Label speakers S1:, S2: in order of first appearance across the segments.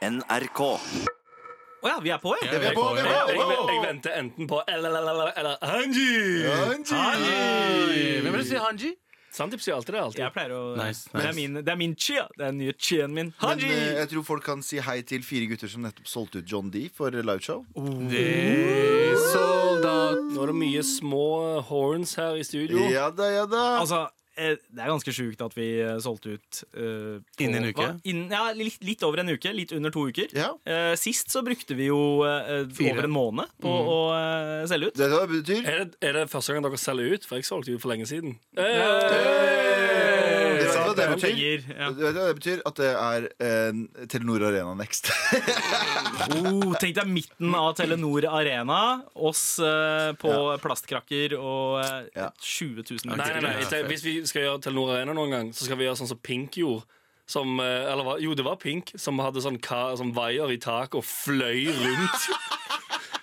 S1: NRK.
S2: Å ja, vi er på, ja.
S3: vi er på, vi er på.
S4: Jeg, jeg, jeg venter enten på LLLL eller Hanji.
S3: Hanji! Hvem vil si Hanji?
S4: Sandeep sier alltid det. alltid
S2: Jeg pleier å
S3: Nice,
S2: Det
S3: nice.
S2: er min, det er min chia. Det er den nye chien min. eh,
S3: Hanji!
S2: Hanji!
S3: Men,
S1: Jeg tror folk kan si hei til fire gutter som nettopp solgte ut John D for liveshow.
S3: De sold out.
S4: Nå er det mye små horns her i studio.
S1: Ja da, ja da.
S2: Altså, eh, det er ganske sjukt at vi eh, solgte ut eh, på-
S3: Innen en uke?
S2: hva? Innen- ja, litt, litt over en uke. Litt under to uker.
S1: Ja.
S2: Eh, sist så brukte vi jo eh,
S3: Fire. Mm.
S2: over en måned på å eh, selge ut.
S1: Vet du hva det betyr?
S4: Er det, er det første gang dere selger ut? For jeg solgte ut for lenge siden. Eh,
S2: Eh,
S1: Det vet du hva det
S2: Om
S1: betyr?
S2: penger, ja.
S1: Du vet hva det betyr? At det er eh, Telenor Arena next.
S2: oh, tenk deg midten av Telenor Arena, oss eh, på plastkrakker og eh,
S1: Ja.
S2: 20 000
S4: Nei, nei, nei.
S2: mennesker.
S4: Jeg tenker, Hvis vi skal gjøre Telenor Arena noen gang, så skal vi gjøre sånn som Pink gjorde. Som, eh, eller, hva- jo, det var Pink som hadde sånn, ka, sånn vaier i taket og fløy rundt.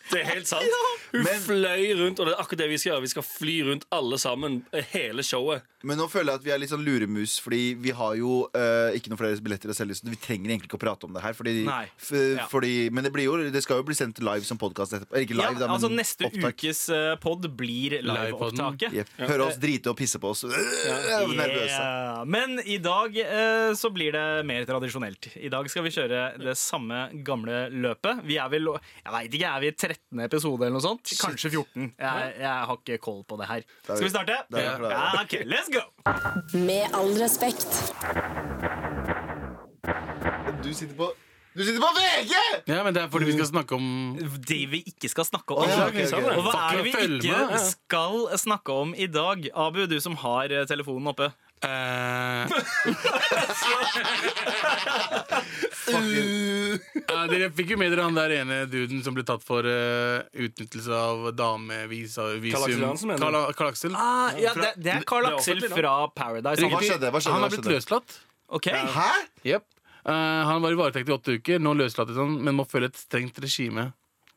S4: Det er helt sant. Hun
S1: Men-
S4: fløy rundt, og det er akkurat det vi skal gjøre. Vi skal fly rundt alle sammen, eh, hele showet.
S1: Men nå føler jeg at vi er litt sånn luremus, fordi vi har jo eh, ikke noen flere billetter å selge. Så vi trenger egentlig ikke å prate om det her. Fordi,
S2: Nei.
S1: f, eh,
S2: Ja.
S1: fordi, men det, blir jo, det skal jo bli sendt live som podkast etterpå. Eller Ikke live,
S2: ja,
S1: da, men
S2: altså Neste
S1: opptak.
S2: ukes eh, pod blir
S3: Livepodden.
S2: liveopptaket.
S1: Jep. Høre oss drite og pisse på oss. Jeg er nervøse.
S2: Yeah. Men i dag eh, så blir det mer tradisjonelt. I dag skal vi kjøre det samme gamle løpet. Vi er vel Jeg veit ikke, er vi i 13. episode eller noe sånt? Kanskje 14. Jeg, jeg har ikke koll på det her. Skal vi starte?
S1: Da er vi klare.
S2: Ja, ok, let's go!
S5: Med all respekt.
S1: Du sitter på Du sitter på VG!
S3: Ja, men det er fordi vi skal snakke om
S2: Det vi ikke skal snakke om.
S1: Å, ja,
S4: ok, ok.
S2: Og hva er det vi
S3: Fucking følg med,
S2: ikke
S3: ja.
S2: skal snakke om i dag? Abu, du som har eh, telefonen oppe.
S3: eh,
S1: Fucking-
S3: ja, Dere fikk jo med dere han der ene duden som ble tatt for eh, utnyttelse av damevisa visum.
S4: Karl Aksel Johansen, mener du?
S3: Karl, Karl Aksel.
S2: Ah, ja, det, er Carl
S4: det er
S2: Aksel
S4: offentlig nå.
S2: fra Paradise.
S3: Riktig.
S1: Hva skjedde? Hva skjedde?
S3: Han
S1: Hva
S3: er blitt
S1: skjedde?
S3: løslatt.
S2: Ok,
S1: Hæ?
S3: Jep. Eh, han var i varetekt i åtte uker, nå løslates han, men må følge et strengt regime.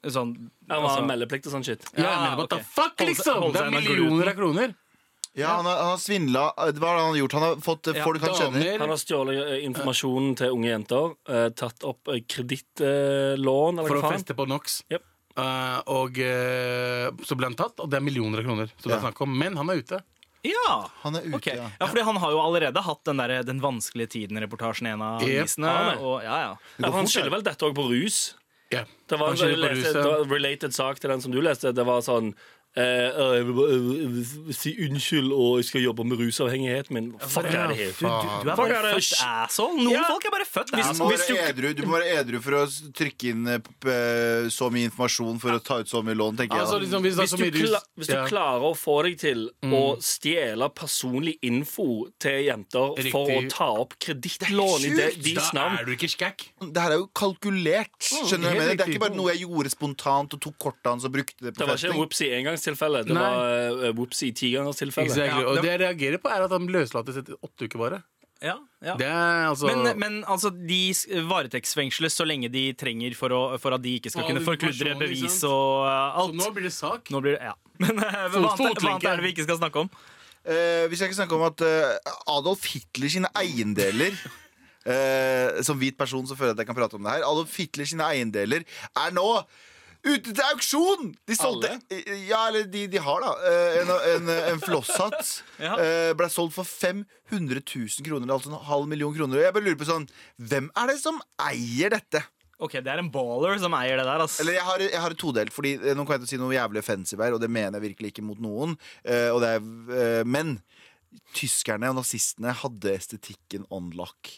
S2: sånn
S4: Han har meldeplikt og sånn shit.
S3: Altså- Ja,
S2: Ja,
S3: men what
S2: ok.
S3: the fuck,
S2: Hold seg-
S3: liksom!
S2: hold
S3: det
S2: seg
S3: er
S2: unna
S3: millioner av kroner.
S1: Ja, han har, han har svindla Hva er det han har gjort? Han har fått eh,
S2: Ja,
S1: folk han kjenner.
S4: Han
S3: Damer
S4: har stjålet eh, informasjonen til unge jenter, eh, tatt opp kredittlån eller
S3: for
S4: hva
S3: å
S4: faen.
S3: feste på NOx.
S4: Jep.
S3: Eh, og eh, så ble han tatt, og det er millioner av kroner. Så det er
S1: Ja.
S3: snakk om, Men han er ute.
S2: Ja.
S1: Han er ute,
S2: Ok.
S1: ja.
S2: ja, fordi han har jo allerede hatt den, der, den vanskelige tiden-reportasjen i en av
S3: Yep.
S2: avisene.
S4: Ja, nei.
S2: Og, ja, ja.
S4: Ja, for
S1: går
S4: han
S1: fort,
S4: skylder vel dette òg på rus.
S3: Ja.
S4: Det var
S3: Han
S4: en
S3: skylder på
S4: related,
S3: ruset.
S4: det var en related sak til den som du leste. Det var sånn eh, «Å, jeg vil bare, eh, vil Si unnskyld, og jeg skal jobbe med rusavhengigheten min. Fuck
S3: det er
S4: er det
S3: jo
S2: Du,
S4: her?
S2: du, du er
S4: Fuck, er
S2: bare
S4: det-
S2: født asshole. Noen
S4: Ja.
S2: folk er bare født
S1: Du
S2: asshole.
S1: må,
S4: Hvis
S1: være
S4: du ikke-
S1: edru, du må være edru for å s- trykke inn eh, p- eh, så mye informasjon for å ta ut så mye lån, tenker
S3: Altså,
S1: jeg. da.
S3: liksom, hvis det er
S4: Hvis
S3: så
S4: du,
S3: mye rus
S4: kla hvis du
S3: Ja. Mm.
S4: klarer å få deg til å stjele personlig info til jenter for å
S3: Riktig.
S4: ta opp kredittlån i de, deres
S3: Da
S4: navn
S3: er du ikke skækk.
S1: Det her er jo kalkulert. Skjønner du hva jeg
S3: helt
S1: mener? Det er
S3: riktig.
S1: ikke bare noe jeg gjorde spontant og tok kortet hans og brukte det
S4: Det
S1: på
S4: var ikke
S1: festing.
S4: whoopsie engangstilfelle. Det
S3: Nei.
S4: var uh, whoopsie tigangerstilfelle.
S3: Exactly.
S2: Ja,
S3: og
S2: det-
S3: det jeg reagerer på, er at han løslates etter åtte uker bare.
S2: Ja, ja.
S3: Det er altså
S2: Men, men altså, de s- varetektsfengsles så lenge de trenger for, å, for at de ikke skal
S3: Og
S2: kunne
S3: all
S2: forkludre
S3: informasjon, ikke
S2: bevis
S3: sant?
S2: og uh,
S3: Så
S2: alt.
S3: nå blir det sak.
S2: Nå blir det, ja. Men eh, hva,
S3: Fot-
S2: annet, er- hva annet
S3: fotlenke.
S2: er det vi ikke skal snakke om?
S1: Eh, vi skal ikke snakke om at eh, Adolf Hitler sine eiendeler eh, Som hvit person så føler jeg at jeg kan prate om det her. Adolf Hitler sine eiendeler er nå ute til auksjon! De solgte Eh, Ja, eller de, de har, da. Eh, en en, en flosshatt
S2: Ja.
S1: eh, ble solgt for 500 000 kroner, altså en halv million kroner. Og jeg bare lurer på sånn Hvem er det som eier dette?
S2: Ok, Det er en baller som eier det der. ass
S1: Eller jeg har, jeg har et todelt, fordi eh, nå kan jeg til å si noe jævlig offensive her, og det mener jeg virkelig ikke mot noen. eh, og det er, eh, men tyskerne og nazistene hadde estetikken on lock.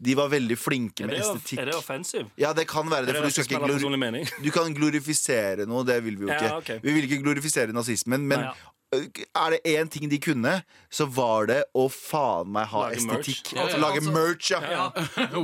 S1: De var veldig flinke
S4: Er
S1: med
S4: det,
S1: estetikk.
S4: er det offensive?
S1: ja, det kan være det,
S4: Er
S1: for
S4: det
S1: du, skal
S4: rasisme
S1: ikke
S4: eller
S1: glori-
S4: personlig mening?
S1: du kan glorifisere noe, det vil vi jo ikke.
S4: Ja, ok.
S1: Vi vil ikke glorifisere nazismen, men
S2: Nei,
S1: ø, er det én ting de kunne, så var det å faen meg ha
S4: Lage
S1: estetikk.
S4: merch.
S1: Altså,
S3: ja,
S1: lage merch, ja.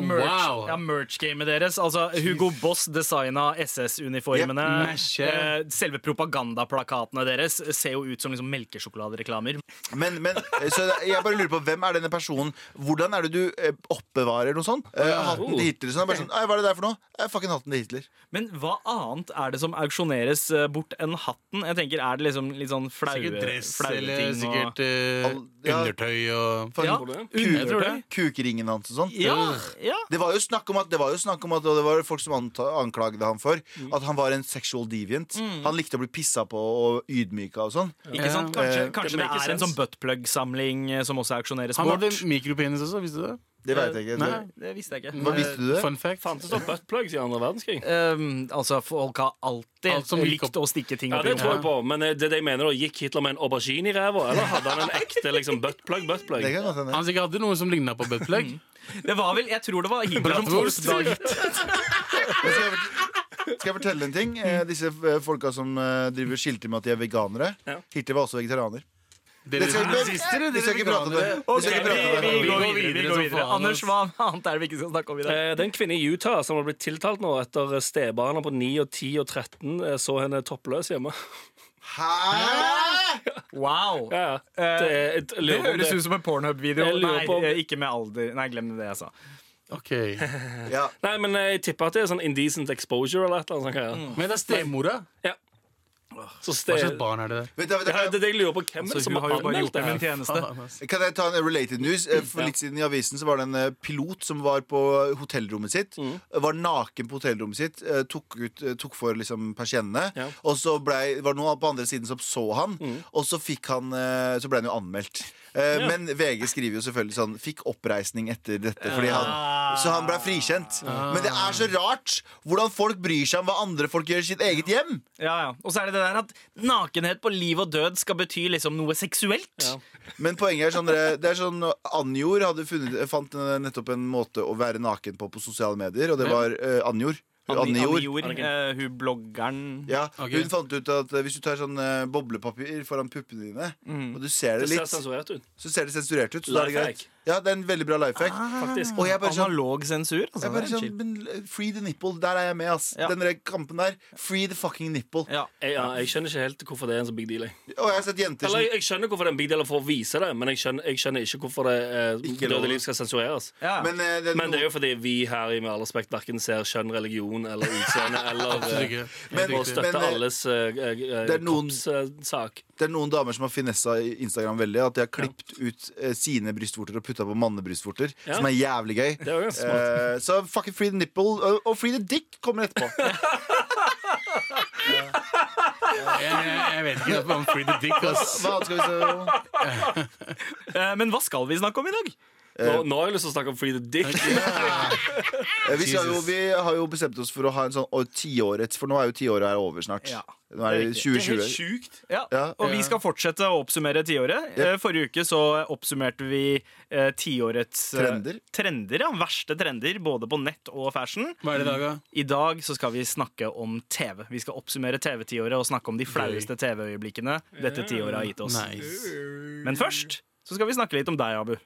S2: Merch,
S3: Wow.
S2: ja, merch-gamet deres. Altså, Hugo Boss designa SS-uniformene.
S3: Yep, mesje.
S2: eh, selve propagandaplakatene deres ser jo ut som liksom melkesjokoladereklamer.
S1: Men, men eh, så jeg bare lurer på hvem er denne personen? Hvordan er det du eh, oppbevarer noe sånt? Eh, hatten til Hitler? Sånn, bare sånn, «Ei, Hva er det der for noe? Eh, fucking hatten til Hitler.
S2: Men hva annet er det som auksjoneres eh, bort enn hatten? Jeg tenker, Er det liksom litt sånn flaue flaue
S3: Sikkert Dress
S2: flaue
S3: eller
S2: ting og-
S3: sikkert eh,
S1: Al- ja.
S3: undertøy og
S1: For
S2: Ja,
S4: Tror du det?
S2: jeg tror det.
S1: Kukeringen hans og sånn.
S2: Ja, ja.
S1: Det var jo snakk om at, det var jo snakk om at og det var folk som anta, anklagde ham for at han var en sexual deviant. Han likte å bli pissa på og ydmyka og sånn.
S2: Ikke sant?
S1: Eh,
S2: Kanskje, kanskje det,
S4: make
S2: er en
S4: sense.
S2: sånn buttplug-samling eh, som også auksjoneres
S3: Han
S2: bort.
S3: hadde mikropenis også, visste du det?
S1: Det veit jeg ikke.
S2: Nei, det visste jeg ikke.
S1: Hva visste du det?
S3: Fun fact.
S4: Fantes det buttplugs i andre verdenskrig?
S2: Um, altså, folk har alltid
S3: Alt som gikk
S2: likt å stikke ting
S4: Ja,
S2: opp i
S4: det tror jeg
S2: rumpa.
S4: på, men eh, det er det jeg mener da, gikk Hitler med en aubergine i ræva? Eller hadde han en ekte liksom, buttplug? buttplug?
S1: Det kan godt hende.
S3: Han sikkert hadde noe som ligna på buttplug.
S2: Det var vel, jeg tror det var Hitler som
S3: Bratwurst.
S2: foreslaget
S1: Men Skal jeg, fort- skal jeg fortelle en ting? Eh, disse eh, folka som eh, driver og skilter med at de er veganere.
S4: Ja.
S1: Hitler var også vegetarianer.
S3: Dere
S1: skal vi-
S3: nazister,
S1: vi skal
S3: dere
S1: ikke prate om det.
S3: veganere.
S1: Vi skal ikke prate om det.
S2: Vi går videre. vi går
S3: som
S2: videre
S3: faen,
S2: Anders,
S3: ass.
S2: hva annet er det vi ikke skal snakke om i dag?
S4: Eh, Det er en kvinne i Utah som har blitt tiltalt nå etter eh, stebarna på 9 og 10 og 13 eh, så henne toppløs hjemme.
S1: Hæ?!
S2: Wow.
S4: Ja, ja. Det, er- jeg
S2: Det
S4: lurer om
S2: høres ut som en Pornhub-video.
S4: Jeg lurer
S2: Nei,
S4: på om-
S2: eh, ikke med alder. Nei, glem det jeg sa.
S3: Ok.
S1: Ja.
S4: Nei, men jeg tipper at det er sånn indecent exposure eller et eller annet. sånt.
S3: Men det er stemora.
S4: her. Ja. Så
S3: Hva
S4: ste...
S3: slags barn er det?
S1: Vet du, vet du,
S4: Ja, det
S1: kan,
S4: er det jeg lurer på. Hvem er det
S2: Så
S4: som
S2: hun
S4: har
S2: har jo bare
S4: anmeldt
S2: gjort
S4: det?
S2: dem en
S4: her?
S2: tjeneste.
S3: ass.
S1: jeg- kan jeg ta en related news? Eh, For
S4: Ja.
S1: litt siden I avisen så var det en eh, pilot som var på eh, hotellrommet sitt.
S4: Mm.
S1: eh, Var naken på hotellrommet sitt, eh, tok, ut, eh, tok for liksom persiennene.
S4: Ja. Mm.
S1: Og så blei, var det noen på andre siden som så han, og så, fikk han, eh, så ble han jo anmeldt. Eh,
S4: Ja.
S1: Men VG skriver jo selvfølgelig sånn Fikk oppreisning etter dette. Fordi han,
S4: Ah.
S1: så han ble frikjent. Men det er så rart hvordan folk bryr seg om hva andre folk gjør i sitt eget hjem.
S2: Ja, ja. Og så er det det der at nakenhet på liv og død skal bety liksom noe seksuelt.
S4: Ja.
S1: Men poenget er sånn dere- Det er sånn Anjor hadde funnet, fant eh, nettopp en måte å være naken på på sosiale medier, og det var eh, Anjor.
S2: Anni
S1: Anjor.
S2: Jord, eh, hun bloggeren
S1: Ja,
S3: Ok.
S1: Hun fant ut at eh, hvis du tar sånn eh, boblepapir foran puppene dine, og du ser det
S4: Det ser
S1: litt,
S4: sensurert ut.
S1: så ser det sensurert ut. Så da er det greit.
S4: Lifehack. Ah,
S1: Ja, det er en veldig bra life hack.
S4: Faktisk.
S1: Og jeg bare sånn,
S2: Analog sensur. Altså,
S1: jeg bare
S2: det er
S1: sånn
S2: chill.
S1: men, eh, Free the nipple. Der er jeg med, ass.
S2: Ja.
S1: Den der kampen der. Free the fucking nipple.
S2: ja.
S4: Jeg, ja, jeg skjønner ikke helt hvorfor det er en så big deal. jeg.
S1: Og jeg har sett jenter
S4: Eller
S1: som
S4: jeg, jeg skjønner hvorfor det er en big deal for å vise det, men jeg skjønner, jeg skjønner ikke hvorfor det eh,
S1: Ikke lov.
S4: døde liv skal sensureres.
S2: Ja.
S1: men, eh, det,
S4: Men det er jo fordi vi her i Med all respekt verken ser kjønn, religion eller utseende eller
S3: Absolutt
S4: eh,
S3: ikke.
S1: Men-
S4: og
S1: men-
S4: støtter alles eh,
S1: Det er noen-
S4: kroppssak.
S1: det er noen damer som har finessa i Instagram veldig. At de har klippet ut eh, sine brystvorter og putta på mannebrystvorter.
S4: Ja.
S1: Som er jævlig gøy.
S4: Det er jo ganske smart.
S1: Eh, så fucking free the nipple. Og, og free the dick kommer etterpå.
S3: Jeg, jeg, jeg vet ikke om Free the Dick, ass.
S1: Hva annet skal vi se?
S2: Eh, men hva skal vi snakke om i dag?
S4: Nå, nå har jeg lyst til å snakke om Free the Dick.
S1: Eh, Vi, skal jo, vi har jo bestemt oss for å ha en sånn å, tiårets, for nå er jo tiåret her over snart.
S2: Ja.
S1: Nå er det
S2: Det
S1: 2020.
S4: sjukt.
S2: Ja,
S1: Ja,
S2: og vi skal fortsette å oppsummere tiåret. Eh, Forrige uke så oppsummerte vi eh, tiårets eh,
S1: Trender.
S2: trender. Ja, verste trender, både på nett og fashion.
S3: Hva er det i dag, da?
S2: I dag så skal vi snakke om TV. Vi skal oppsummere TV-tiåret og snakke om de flaueste TV-øyeblikkene dette tiåret har gitt oss.
S3: Nice.
S2: Men først så skal vi snakke litt om deg, Abu.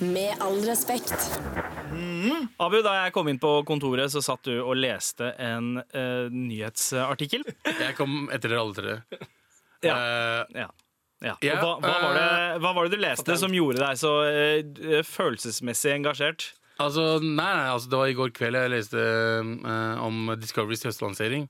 S5: Med all respekt.
S2: Abu, da jeg kom inn på kontoret, så satt du og leste en eh, nyhetsartikkel.
S3: Jeg kom etter dere alle tre. Eh,
S2: Ja. ja. Og
S3: Ja,
S2: hva, hva, var det, hva var det du leste
S4: fortell.
S2: som gjorde deg så eh, d- følelsesmessig engasjert?
S3: altså, nei, nei, altså, det var i går kveld jeg leste eh, om Discoverys høstlansering.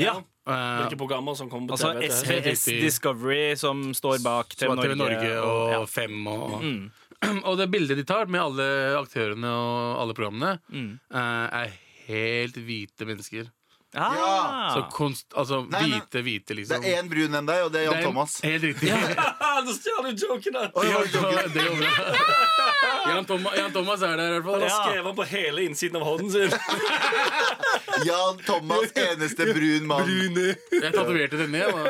S2: Ja,
S3: Eh,
S4: Hvilke programmer som kommer på
S2: Altså
S4: TV? til høsten.
S3: helt
S2: SBS
S3: riktig.
S2: Discovery, som står bak TV
S3: som var TV
S2: Norge.
S3: Norge og
S2: ja.
S3: Fem og Og det bildet de tar med alle aktørene og alle programmene, eh, er helt hvite mennesker.
S2: Ah.
S3: Så konst, altså
S1: Nei, men-
S3: hvite, hvite,
S1: Det
S3: liksom.
S1: er én brun enn deg, og det er
S3: Det
S1: Jan
S3: er en-
S1: Thomas.
S3: Helt riktig.
S4: Nå stjal du joken hans!
S1: Oi,
S4: Jeg
S1: oi,
S3: Det var- det gjorde jeg. Jan, Thomas, Jan Thomas er der i hvert fall.
S4: har
S2: Ja.
S4: skrevet den på hele innsiden av hånden sin.
S1: Jan Thomas, eneste brun mann.
S3: Jeg tatoverte den ned. Og...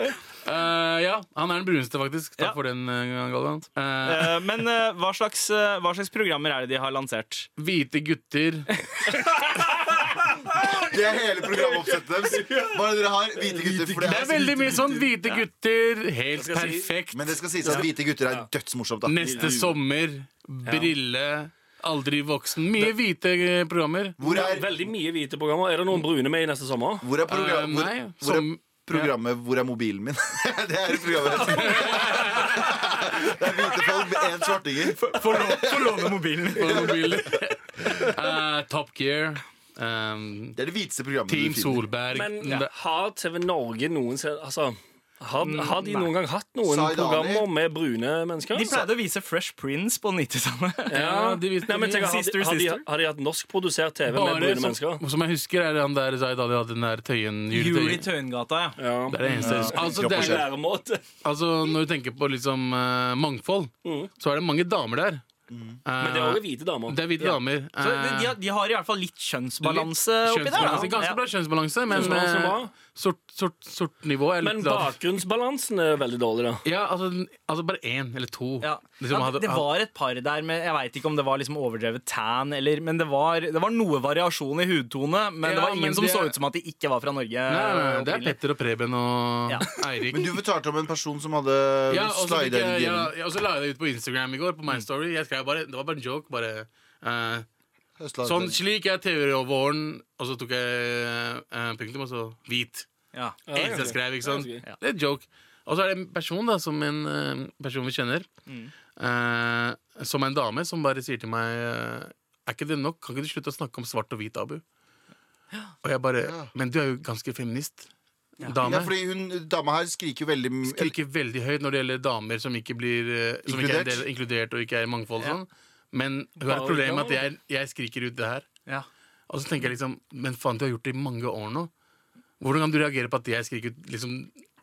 S3: Eh, ja, han er den bruneste, faktisk. Takk
S2: Ja.
S3: for den, eh, Galvan. Eh,
S2: Eh, Men eh, hva slags, eh, hva slags programmer er det de har lansert?
S3: hvite gutter.
S1: Det er hele programoppsettet deres. Bare dere har hvite gutter. For det,
S3: Det er
S1: er
S3: veldig mye sånn hvite gutter. Helt
S4: skal si-
S3: perfekt.
S1: men det skal sies at hvite gutter er dødsmorsomt, da.
S3: Neste sommer. Brille. Aldri voksen. Mye hvite eh, programmer.
S1: Hvor er,
S4: Veldig mye hvite programmer. Er det noen brune med i neste sommer?
S1: hvor er,
S3: Eh,
S1: program, hvor,
S3: nei,
S1: hvor er
S3: som-
S1: programmet 'Hvor er mobilen min'? det er programmet. Det er hvite folk med én svartinger.
S2: Få låne mobilen.
S3: På mobilen. Eh, Top Gear. eh,
S1: Det er det hviteste programmet
S3: Team
S1: du finner.
S3: Solberg. mm,
S4: Men
S3: Ja. Mm,
S4: har TV Norge noensinne Altså Har, har de noen gang hatt noen
S1: Zaid Ali.
S4: programmer med brune mennesker?
S2: De pleide å vise Fresh Prince på 90-tallet.
S4: ja,
S3: de viste-
S4: Nei, men tenk, har, de,
S2: Sister,
S4: har, de,
S2: sister.
S4: har de hatt norskprodusert TV med
S3: Bare
S4: brune mennesker?
S3: som, som jeg husker, er det han der Zaid Ali hadde den der Tøyen
S2: Jul i
S3: juletøyen.
S2: Tøyengata, ja.
S4: Ja.
S3: Det er det eneste jeg husker. Altså,
S1: Kropp
S3: det
S1: og
S3: er,
S1: sjel.
S4: Læremåte.
S3: altså, når du tenker på liksom eh, mangfold,
S2: Mm.
S3: så er det mange damer der. Eh,
S4: Mm. Men det er også hvite damer.
S3: det er hvite damer.
S2: Så de, de,
S3: Eh,
S2: har, de har i hvert fall litt kjønnsbalanse
S3: litt
S2: oppi der.
S3: kjønnsbalanse.
S2: da.
S3: Ganske bra kjønnsbalanse, men
S4: Kjønnsbalanse
S3: eh,
S4: bra.
S3: sort, sort, sort nivå er
S4: Men
S3: litt lavt.
S4: bakgrunnsbalansen er veldig dårlig, da.
S3: Ja, altså, den- altså bare én eller to.
S2: Ja.
S3: Liksom,
S2: ja, det,
S3: hadde-
S2: det
S3: hadde-
S2: var et par der med Jeg veit ikke om det var liksom overdrevet tan, eller, men det var, det var noe variasjon i hudtone. Men
S3: Ja,
S2: det var
S3: men
S2: ingen som
S3: det-
S2: så ut som at de ikke var fra Norge.
S3: Nei, nei, nei, det er
S2: opprinnelig.
S3: Petter og Preben og
S2: Ja.
S3: Eirik.
S1: Men du fortalte om en person som hadde
S3: ja, og så fikk
S1: slida inn
S3: jeg,
S1: i
S3: ja,
S1: gjelden.
S3: ja, og så la jeg det ut på Instagram i går, på My Story. Jeg skrev bare, det var bare en joke. Bare, eh,
S1: Høstlandet.
S3: sånn slik er TV-våren, og så tok jeg eh, punktum, og så hvit.
S2: Ja.
S4: det er
S3: Eneste jeg
S4: ganske-
S3: skrev, ikke sant?
S4: det er
S3: Det
S4: ganske
S3: er en joke. Og så er det en person da, som en eh, person vi kjenner,
S4: Mm.
S3: eh, som er en dame, som bare sier til meg eh, Er ikke det nok? Kan ikke du slutte å snakke om svart og hvit, Abu? Og jeg bare Men du er jo ganske feminist. Dame.
S1: Ja, fordi hun dama her skriker jo veldig m-
S3: skriker veldig høyt når det gjelder damer som ikke blir eh, som ikke er en del, inkludert og ikke er i mangfold. og Sånn. Men hun har et problem med at jeg, jeg skriker ut det her.
S2: Ja.
S3: Og så tenker jeg liksom Men faen, du har gjort det i mange år nå. Hvordan kan du reagere på at jeg skriker ut liksom,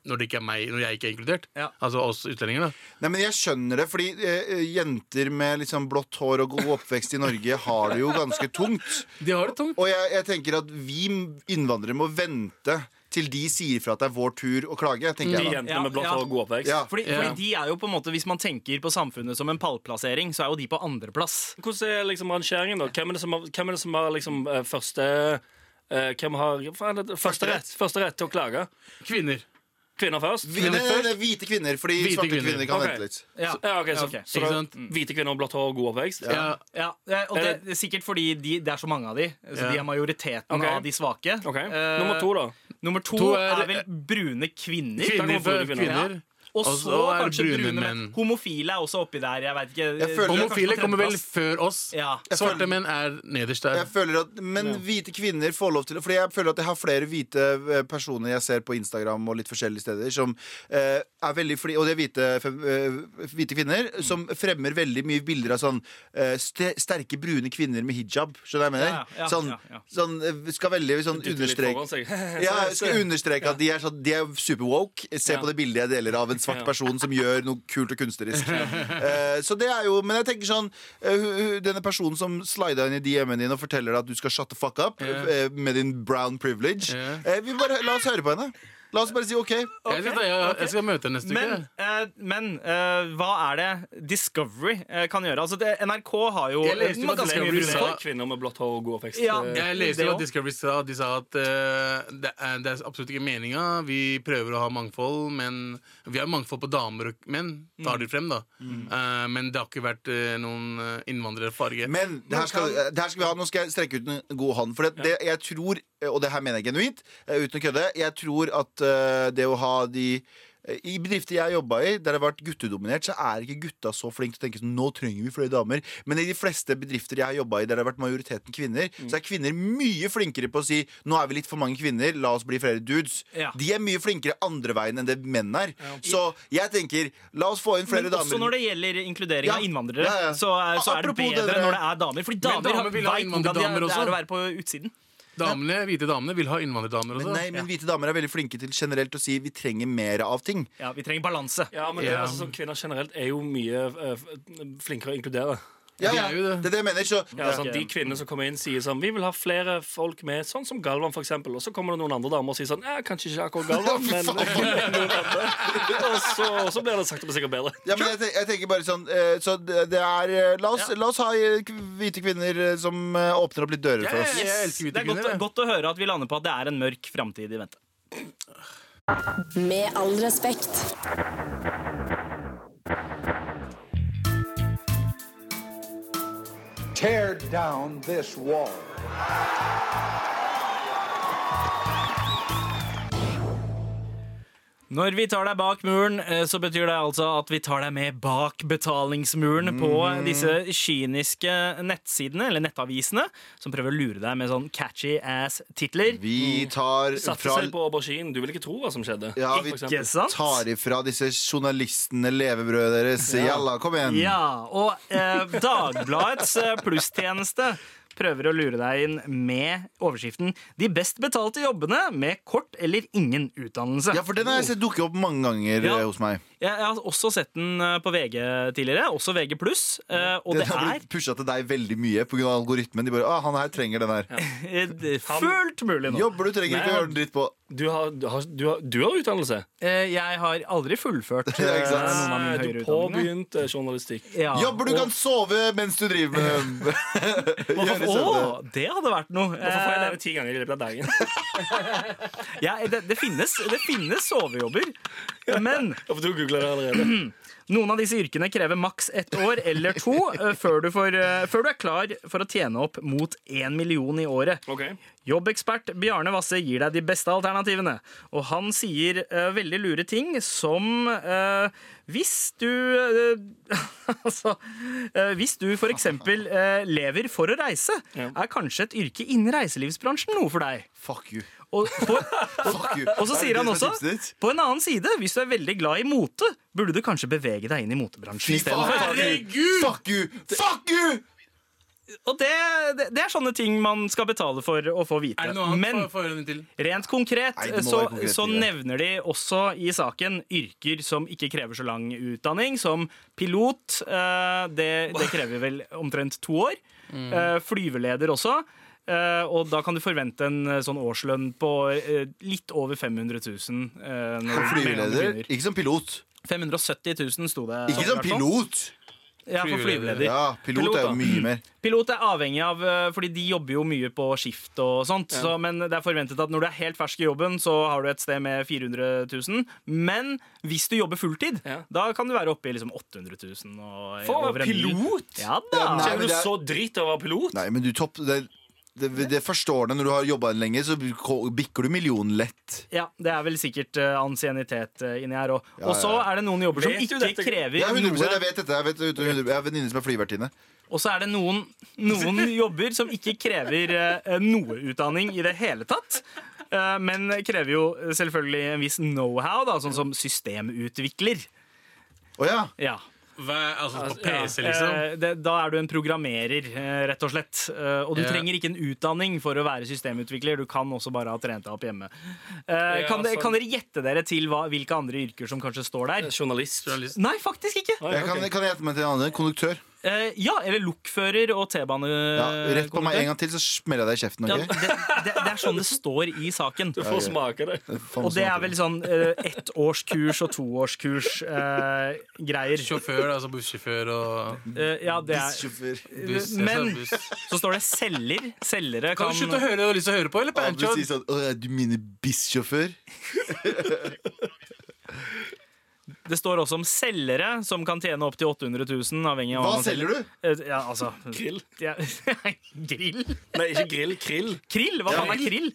S3: når det ikke er meg, når jeg ikke er inkludert?
S2: Ja.
S3: Altså oss utlendinger, da.
S1: Nei, men Jeg skjønner det, fordi eh, jenter med liksom blått hår og god oppvekst i Norge har det jo ganske tungt.
S3: De har det tungt.
S1: Og jeg, jeg tenker at vi innvandrere må vente til de sier fra at det er vår tur å klage. tenker
S4: De
S3: Mm,
S1: jeg da.
S4: jentene med blått
S2: Ja, ja.
S4: hår og god oppvekst.
S1: Ja.
S2: Fordi,
S3: Ja.
S2: fordi de er jo på en måte Hvis man tenker på samfunnet som en pallplassering, så er jo de på andreplass.
S4: Hvordan er liksom rangeringen, da? Hvem er det som har, hvem er det som har liksom eh, første eh, Hvem har faen, det, første, rett, første rett til å klage?
S3: Kvinner.
S4: Kvinner først?
S1: Vi, nei, nei, nei, hvite kvinner, fordi
S3: Hvite
S1: svarte kvinner,
S3: kvinner.
S1: kan
S4: Ok.
S1: vente litt.
S2: Ja.
S4: Så, ja, ok,
S2: Ja,
S4: så,
S2: ok.
S4: så
S3: Ikke
S4: da,
S3: sant?
S4: hvite kvinner og blått hår og god oppvekst?
S3: Ja.
S2: Ja, eh, og det, det er sikkert fordi de, det er så mange av de, så
S3: Ja.
S2: de er majoriteten
S4: Ok.
S2: av de svake.
S4: Ok,
S2: Eh,
S4: Nummer to, da.
S2: nummer to
S3: To
S2: er,
S3: er-
S2: vel brune kvinner.
S3: Kvinner
S4: kommer
S3: for
S4: brune kvinner.
S3: kvinner.
S2: Og
S3: Og
S2: så
S3: så er det
S2: kanskje brune,
S3: brune
S2: menn.
S3: menn.
S2: Homofile er også oppi der. Jeg vet ikke.
S1: Jeg føler-
S2: Kanskje
S3: Homofile
S2: på
S3: kommer vel
S2: tredjeplass.
S3: før oss.
S2: ja.
S3: Svarte menn er nederst der.
S1: Jeg føler at, men hvite kvinner får lov til Fordi jeg føler at jeg har flere hvite eh, personer jeg ser på Instagram og litt forskjellige steder, som eh, er veldig fli, Og det er hvite, fem- eh, hvite kvinner som fremmer veldig mye bilder av sånn eh, ste, sterke brune kvinner med hijab. Skjønner du hva jeg mener?
S2: Ja, ja,
S1: sånn,
S2: ja, ja.
S1: sånn eh, skal veldig sånn understreke ja, jeg skal understreke at de er, sånn- de er super woke. Se
S4: Ja.
S1: på det bildet jeg deler av en svart
S4: Ja.
S1: person som gjør noe kult og kunstnerisk. Eh, så det er jo, Men jeg tenker sånn eh, hu- hu- Denne personen som slida inn i DM-en din og forteller deg at du skal shut the fuck up eh, med din brown privilege
S3: Ja.
S1: eh, vi bare, La oss høre på henne. La oss bare si OK.
S3: Jeg, synes jeg, jeg skal møte henne neste
S2: Men,
S3: uke.
S2: eh, men eh, hva er det Discovery eh, kan gjøre? Altså, det, NRK har jo
S3: Jeg leste jo at
S2: ganske mye
S3: Discovery
S2: rus-
S3: sa-
S4: Kvinner, kvinner med blått hår og god oppvekst.
S2: Ja.
S4: eh,
S3: Jeg leste
S2: Det
S3: jo
S2: også.
S3: at Discovery sa De sa at eh, det, er, det er absolutt ikke meninga. Vi prøver å ha mangfold, men vi har mangfold på damer og menn. Tar
S2: Mm.
S3: de frem, da. Eh, men det har ikke vært eh, noen eh, innvandrerfarge.
S1: Men det her, skal, det her skal vi ha, nå skal jeg strekke ut en god hånd. For det, det, jeg tror, og det her mener jeg genuint, eh, uten å kødde, jeg tror at eh, det å ha de eh, i bedrifter jeg jobba i, der det har vært guttedominert, så er ikke gutta så flinke til å tenke sånn Nå trenger vi flere damer. Men i de fleste bedrifter jeg har jobba i, der det har vært majoriteten kvinner,
S2: Mm.
S1: så er kvinner mye flinkere på å si Nå er vi litt for mange kvinner, la oss bli flere dudes.
S2: Ja.
S1: De er mye flinkere andre veien enn det menn er. Så jeg tenker, la oss få inn flere
S2: Men også
S1: damer.
S2: når det gjelder inkludering
S1: Ja,
S2: av innvandrere,
S1: ja, ja.
S2: Så, er, så er det
S1: Apropos
S2: bedre
S1: det der-
S2: når det er damer. Fordi damer,
S3: damer vil ha
S2: vet hvordan de
S3: innvandrerdamer
S2: er, det
S3: også.
S2: er å være på utsiden.
S3: damene, Hvite damene vil ha innvandrerdamer også.
S1: Men, nei, men hvite damer er veldig flinke til generelt å si vi trenger mer av ting.
S2: Ja, Vi trenger balanse.
S4: Ja, men det,
S3: Ja.
S4: er altså, sånn, Kvinner generelt er jo mye eh, f- flinkere å inkludere.
S1: Ja,
S3: De
S1: ja.
S3: er jo det.
S1: Det er det jeg mener. Så,
S4: Ja, sånn, de kvinnene som kommer inn, sier sånn Vi vil ha flere folk med, sånn som Galvan, for eksempel. Og så kommer det noen andre damer og sier sånn Ja, kanskje ikke akkurat Galvan,
S1: Fy
S4: men
S1: faen.
S4: noen andre. Og så, og så blir det sakte, men sikkert bedre.
S1: ja, men jeg, te- jeg tenker bare sånn eh, Så det det er eh, La oss,
S2: Ja.
S1: la oss ha eh, k- hvite kvinner eh, som eh, åpner opp litt dører for oss.
S3: Jeg
S2: Det
S3: elsker hvite
S2: er godt,
S3: kvinner. jeg.
S2: godt å høre at vi lander på at det er en mørk framtid i vente.
S5: Med all respekt.
S6: tear down this wall.
S2: Når vi tar deg bak muren, eh, så betyr det altså at vi tar deg med bak betalingsmuren på disse kyniske nettsidene, eller nettavisene, som prøver å lure deg med sånn catchy ass-titler.
S1: Vi tar
S4: Satte
S1: fra
S4: seg på auberginen. Du vil ikke tro hva som skjedde.
S1: ja, vi
S4: For
S2: Ikke
S4: eksempel.
S2: sant?
S1: tar ifra disse journalistene levebrødet deres. Jalla, kom igjen!
S2: Ja, og eh, Dagbladets eh, plusstjeneste prøver å lure deg inn med overskriften 'De best betalte jobbene med kort eller ingen utdannelse'.
S1: Ja, for den har jeg sett dukke opp mange ganger
S2: Ja.
S1: eh, hos meg.
S2: Jeg, jeg har også sett den eh, på VG tidligere, også VG+. eh, og
S1: Den
S2: det
S1: har
S2: er
S1: blitt pusha til deg veldig mye pga. algoritmen. De bare, ah, han her trenger den her.
S2: eh, det er fullt mulig nå.
S1: Jobber du trenger ikke å
S4: Nei,
S1: gjøre den dritt på.
S4: Du har, du, har, du, har, du har utdannelse.
S2: Eh, jeg har aldri fullført eh,
S1: Ja, ikke sant?
S2: noen av mine
S4: du
S2: høyere utdanninger.
S4: påbegynte journalistikk.
S2: Ja.
S1: Jobber du kan sove mens du driver med Gjør i
S2: Å,
S1: søvne.
S2: det hadde vært noe.
S4: Hvorfor får jeg
S2: Eh,
S4: dere ti ganger i løpet av dagen?
S2: ja, det, det, finnes, det finnes sovejobber, men
S4: For du googler det allerede.
S2: Noen av disse yrkene krever maks ett år eller to eh, før du, får, eh, før du er klar for å tjene opp mot én million i året.
S4: Ok.
S2: Jobbekspert Bjarne Wasse gir deg de beste alternativene. Og han sier eh, veldig lure ting som eh, Hvis du eh, Altså eh, Hvis du f.eks. Uh, lever for å reise,
S4: Ja.
S2: er kanskje et yrke innen reiselivsbransjen noe for deg.
S1: Fuck you.
S2: Og på,
S1: Fuck you.
S2: og
S1: Er
S2: så
S1: det
S2: sier
S1: det
S2: han
S1: som er
S2: også
S1: tipset ditt?
S2: På en annen side, hvis du er veldig glad i mote, burde du kanskje bevege deg inn i motebransjen
S1: Fy faen,
S2: istedenfor.
S1: Fuck you! Fuck you!
S2: Og det, det, det er sånne ting man skal betale for å få vite.
S3: Er det noe annet?
S2: Men
S3: Få- få høre den til.
S2: rent konkret,
S1: Nei, det må
S2: så,
S1: være konkret,
S2: så
S1: Vidar.
S2: nevner de også i saken yrker som ikke krever så lang utdanning, som pilot. eh, Det, det krever vel omtrent to år.
S3: Mm.
S2: Eh, Flyveleder også. eh, og da kan du forvente en eh, sånn årslønn på eh, litt over 500 000. eh, når du- mellom du
S1: Flyveleder.
S2: begynner.
S1: Ikke som pilot.
S2: 570 000 sto det.
S1: Ikke som
S2: i hvert fall.
S1: pilot.
S2: Ja, for flyveleder.
S1: Ja, pilot er
S4: Pilot, da.
S1: jo mye mer.
S2: Pilot er avhengig av, eh, fordi de jobber jo mye på skift og sånt, så, men det er forventet at når du er helt fersk i jobben, så har du et sted med 400 000. Men hvis du jobber fulltid,
S4: Ja.
S2: da kan du være oppe i liksom 800 000. Og,
S4: For å være
S2: over en mil.
S4: pilot?
S2: Ja da!
S1: Nei, men
S4: Kjenner du
S1: det er-
S4: så dritt av å være pilot?
S1: Nei, men du topp det, det, det forstår du når du har jobba lenge, så bikker du millionen lett.
S2: Ja, Det er vel sikkert eh, ansiennitet eh, inni her òg.
S1: Ja,
S2: Og så
S1: ja, ja.
S2: er det noen jobber som
S4: Vet du
S2: ikke
S4: dette?
S2: krever
S1: Jeg er 100
S2: noe
S1: jeg vet dette. Jeg, vet, jeg vet- jeg har venninne som er flyvertinne.
S2: Og så er det noen, noen jobber som ikke krever eh, noe utdanning i det hele tatt. eh, men krever jo selvfølgelig en viss know-how, da, sånn som systemutvikler.
S1: Å ja.
S2: Ja.
S3: Hva, altså på
S4: ja.
S3: PC, liksom?
S2: Eh, det, da er du en programmerer, eh, rett og slett. Eh, og du
S3: Ja.
S2: trenger ikke en utdanning for å være systemutvikler. Du kan også bare ha trent deg opp hjemme. Eh,
S4: Ja,
S2: kan, de,
S4: sant.
S2: kan dere gjette dere til hva, hvilke andre yrker som kanskje står
S4: Eh,
S2: der?
S4: Journalist.
S3: Journalist.
S2: Nei, faktisk ikke.
S4: Oi,
S1: Jeg kan,
S4: ok.
S1: kan jeg gjette meg til en annen? Konduktør.
S2: Eh, ja, eller lokfører og T-bane.
S1: Ja, rett på meg en gang til, så smeller jeg deg i kjeften.
S2: Eh, Ja,
S1: ok?
S2: det, det, det er sånn det står i saken.
S4: Du får smake det.
S1: Faen,
S2: Og det
S1: sånn
S2: er vel sånn uh, ettårskurs og toårskurs-greier.
S3: Sjåfør, altså bussjåfør og
S2: Eh, ja, det er
S1: Sjåfør.
S3: buss. jeg sa
S2: Men
S3: buss.
S2: så står det selger. Selgere
S3: Kan
S2: kan
S3: du slutte å høre det du har lyst til å høre på, eller? på
S1: Abu
S3: Anchor?
S1: sier sånn Å, er du mine bissjåfør?
S2: Det står også om selgere som kan tjene opptil 800 000, avhengig av
S1: Hva selger du?
S2: Ja, altså
S4: Krill.
S2: ja, Grill?
S4: Nei, ikke grill. Krill.
S2: Krill? Hva faen er krill?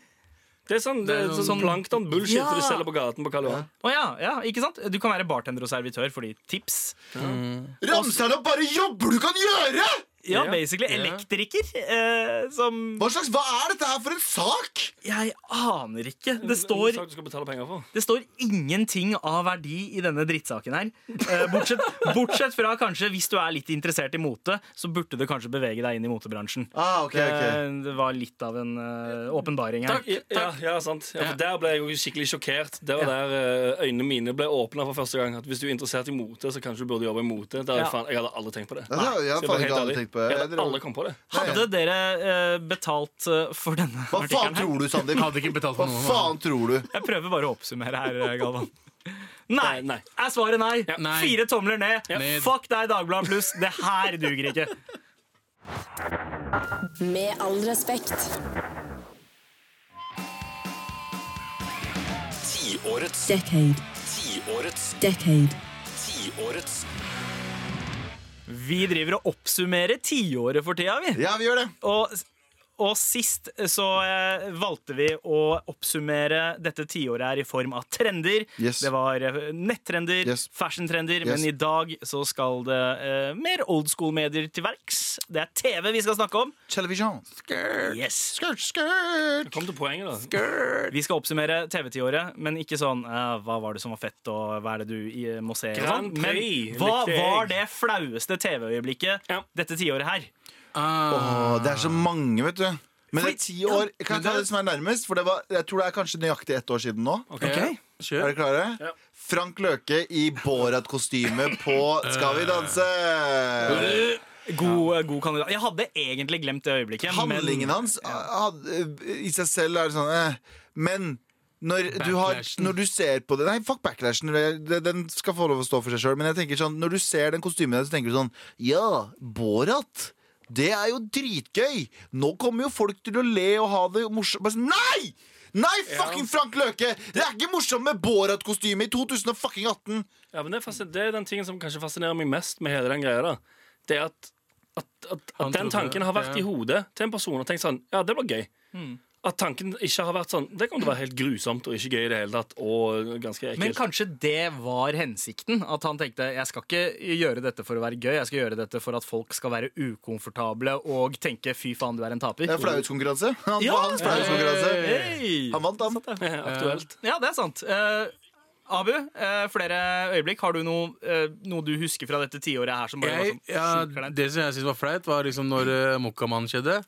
S4: Det er sånn, det er
S3: noe-
S4: sånn plankton bullshit
S2: Ja.
S4: du selger på gaten på Karl Johan.
S2: Å ja, ja, ikke sant? Du kan være bartender og servitør fordi tips.
S1: Ramser han opp bare jobber du kan gjøre?!
S2: Ja,
S4: Ja.
S2: basically. Elektriker eh, som
S1: Hva slags, hva er dette her for en sak?!
S2: Jeg aner ikke. Det
S4: En
S2: står
S4: sak du skal betale penger for.
S2: Det står ingenting av verdi i denne drittsaken her. Eh, Bortsett, bortsett fra kanskje, hvis du er litt interessert i mote, så burde du kanskje bevege deg inn i motebransjen. Eh,
S1: Ah, ok, ok
S2: Det, det var litt av en eh, åpenbaring her.
S4: Ja, ja, ja, sant. Ja, for der ble jeg jo skikkelig sjokkert. Det var der eh, øynene mine ble åpna for første gang. At hvis du er interessert i mote, så kanskje du burde jobbe i mote. Det er
S2: Ja.
S4: faen, jeg hadde aldri tenkt på det.
S1: Ja, det har jeg
S4: Skal
S1: faen ikke
S4: være helt
S1: aldri
S4: ærlig.
S1: tenkt på.
S4: Jeg
S1: Jeg
S4: hadde
S1: tror-
S4: aldri kommet på det.
S2: Hadde dere eh, betalt eh, for denne
S1: Hva faen
S2: artikkelen her?
S1: tror du, Sandeep?
S3: Hadde ikke betalt
S1: Hva
S3: for noen.
S1: faen tror du?
S2: Jeg prøver bare å oppsummere her, eh, Galvan. Nei.
S1: Eh,
S4: Nei, nei.
S2: Er svaret nei?
S3: Nei.
S2: Fire tomler ned.
S3: Ned.
S2: Fuck deg, Dagbladet Pluss. Det her duger ikke.
S5: Med all respekt.
S7: Tiårets
S5: Decade.
S7: Tiårets
S5: Decade.
S7: Tiårets
S2: Vi driver og oppsummerer tiåret for tida, vi.
S1: Ja, vi gjør det.
S2: Og, og sist så eh, valgte vi å oppsummere dette tiåret her i form av trender.
S1: Yes.
S2: Det var eh, nettrender,
S1: Yes.
S2: fashiontrender,
S1: Yes.
S2: men i dag så skal det eh, mer old school-medier til verks. Det er TV vi skal snakke om.
S1: Television.
S2: Yes.
S1: Skirt, skirt.
S4: Kom til poenget, da.
S2: Vi skal oppsummere TV-tiåret, men ikke sånn eh, hva var det som var fett, og hva er det du eh, må se? og
S4: Grand
S2: sånn. Men
S4: Prix,
S2: hva
S4: likte jeg.
S2: var det flaueste TV-øyeblikket
S4: Ja.
S2: dette tiåret her?
S3: Ah.
S1: Åh, det er så mange, vet du. Men det er ti år. Kan jeg
S3: men
S1: ta
S3: det-
S1: det som er nærmest? For det var, jeg tror det er kanskje nøyaktig ett år siden nå.
S3: Ok.
S1: Er
S3: Kjør.
S1: dere klare? Frank Løke i Borat-kostyme på Skal vi danse?
S2: God, eh, god kandidat. Jeg hadde egentlig glemt det øyeblikket.
S1: Handlingen
S2: men,
S1: hans eh, had- i seg selv er det sånn eh, Men når du, har,
S3: Backlashen.
S1: når du ser på det Nei, fuck backlashen. det- det- Den skal få lov å stå for seg sjøl. Men jeg tenker sånn, når du ser den kostymen der, så tenker du sånn Ja, Borat. Det er jo dritgøy! Nå kommer jo folk til å le og ha det morsomt. Bare sånn, Nei! Nei, fucking Frank Løke! Det er ikke morsomt med Borat-kostyme i 2018!
S4: Ja, men det, er fascin- det er den tingen som kanskje fascinerer meg mest med hele den greia. da Det er at, at, at,
S3: Han
S4: at den
S3: trodde-
S4: tanken har vært
S3: ja.
S4: i hodet til en person og tenkt sånn Ja, det blir gøy.
S2: Mm.
S4: At tanken ikke har vært sånn Det kommer til å være helt grusomt og ikke gøy i det hele tatt. Og ganske
S2: men
S4: ekkelt
S2: kanskje det var hensikten? At han tenkte jeg skal ikke gjøre dette for å være gøy, jeg skal gjøre dette for at folk skal være ukomfortable og tenke fy faen, du er en taper.
S1: Det er flauhetskonkurranse. Han,
S2: Ja!
S1: Hans flauhetskonkurranse.
S2: Hey!
S1: Han vant, han.
S4: aktuelt.
S2: Ja, det er sant. Eh, Abu, eh, flere øyeblikk. Har du noe, eh, noe du husker fra dette tiåret her som bare
S3: Jeg,
S2: var
S3: ja,
S2: sånn sjukt kleint?
S3: det som jeg syntes var flaut, var liksom når uh, Mokkamann skjedde.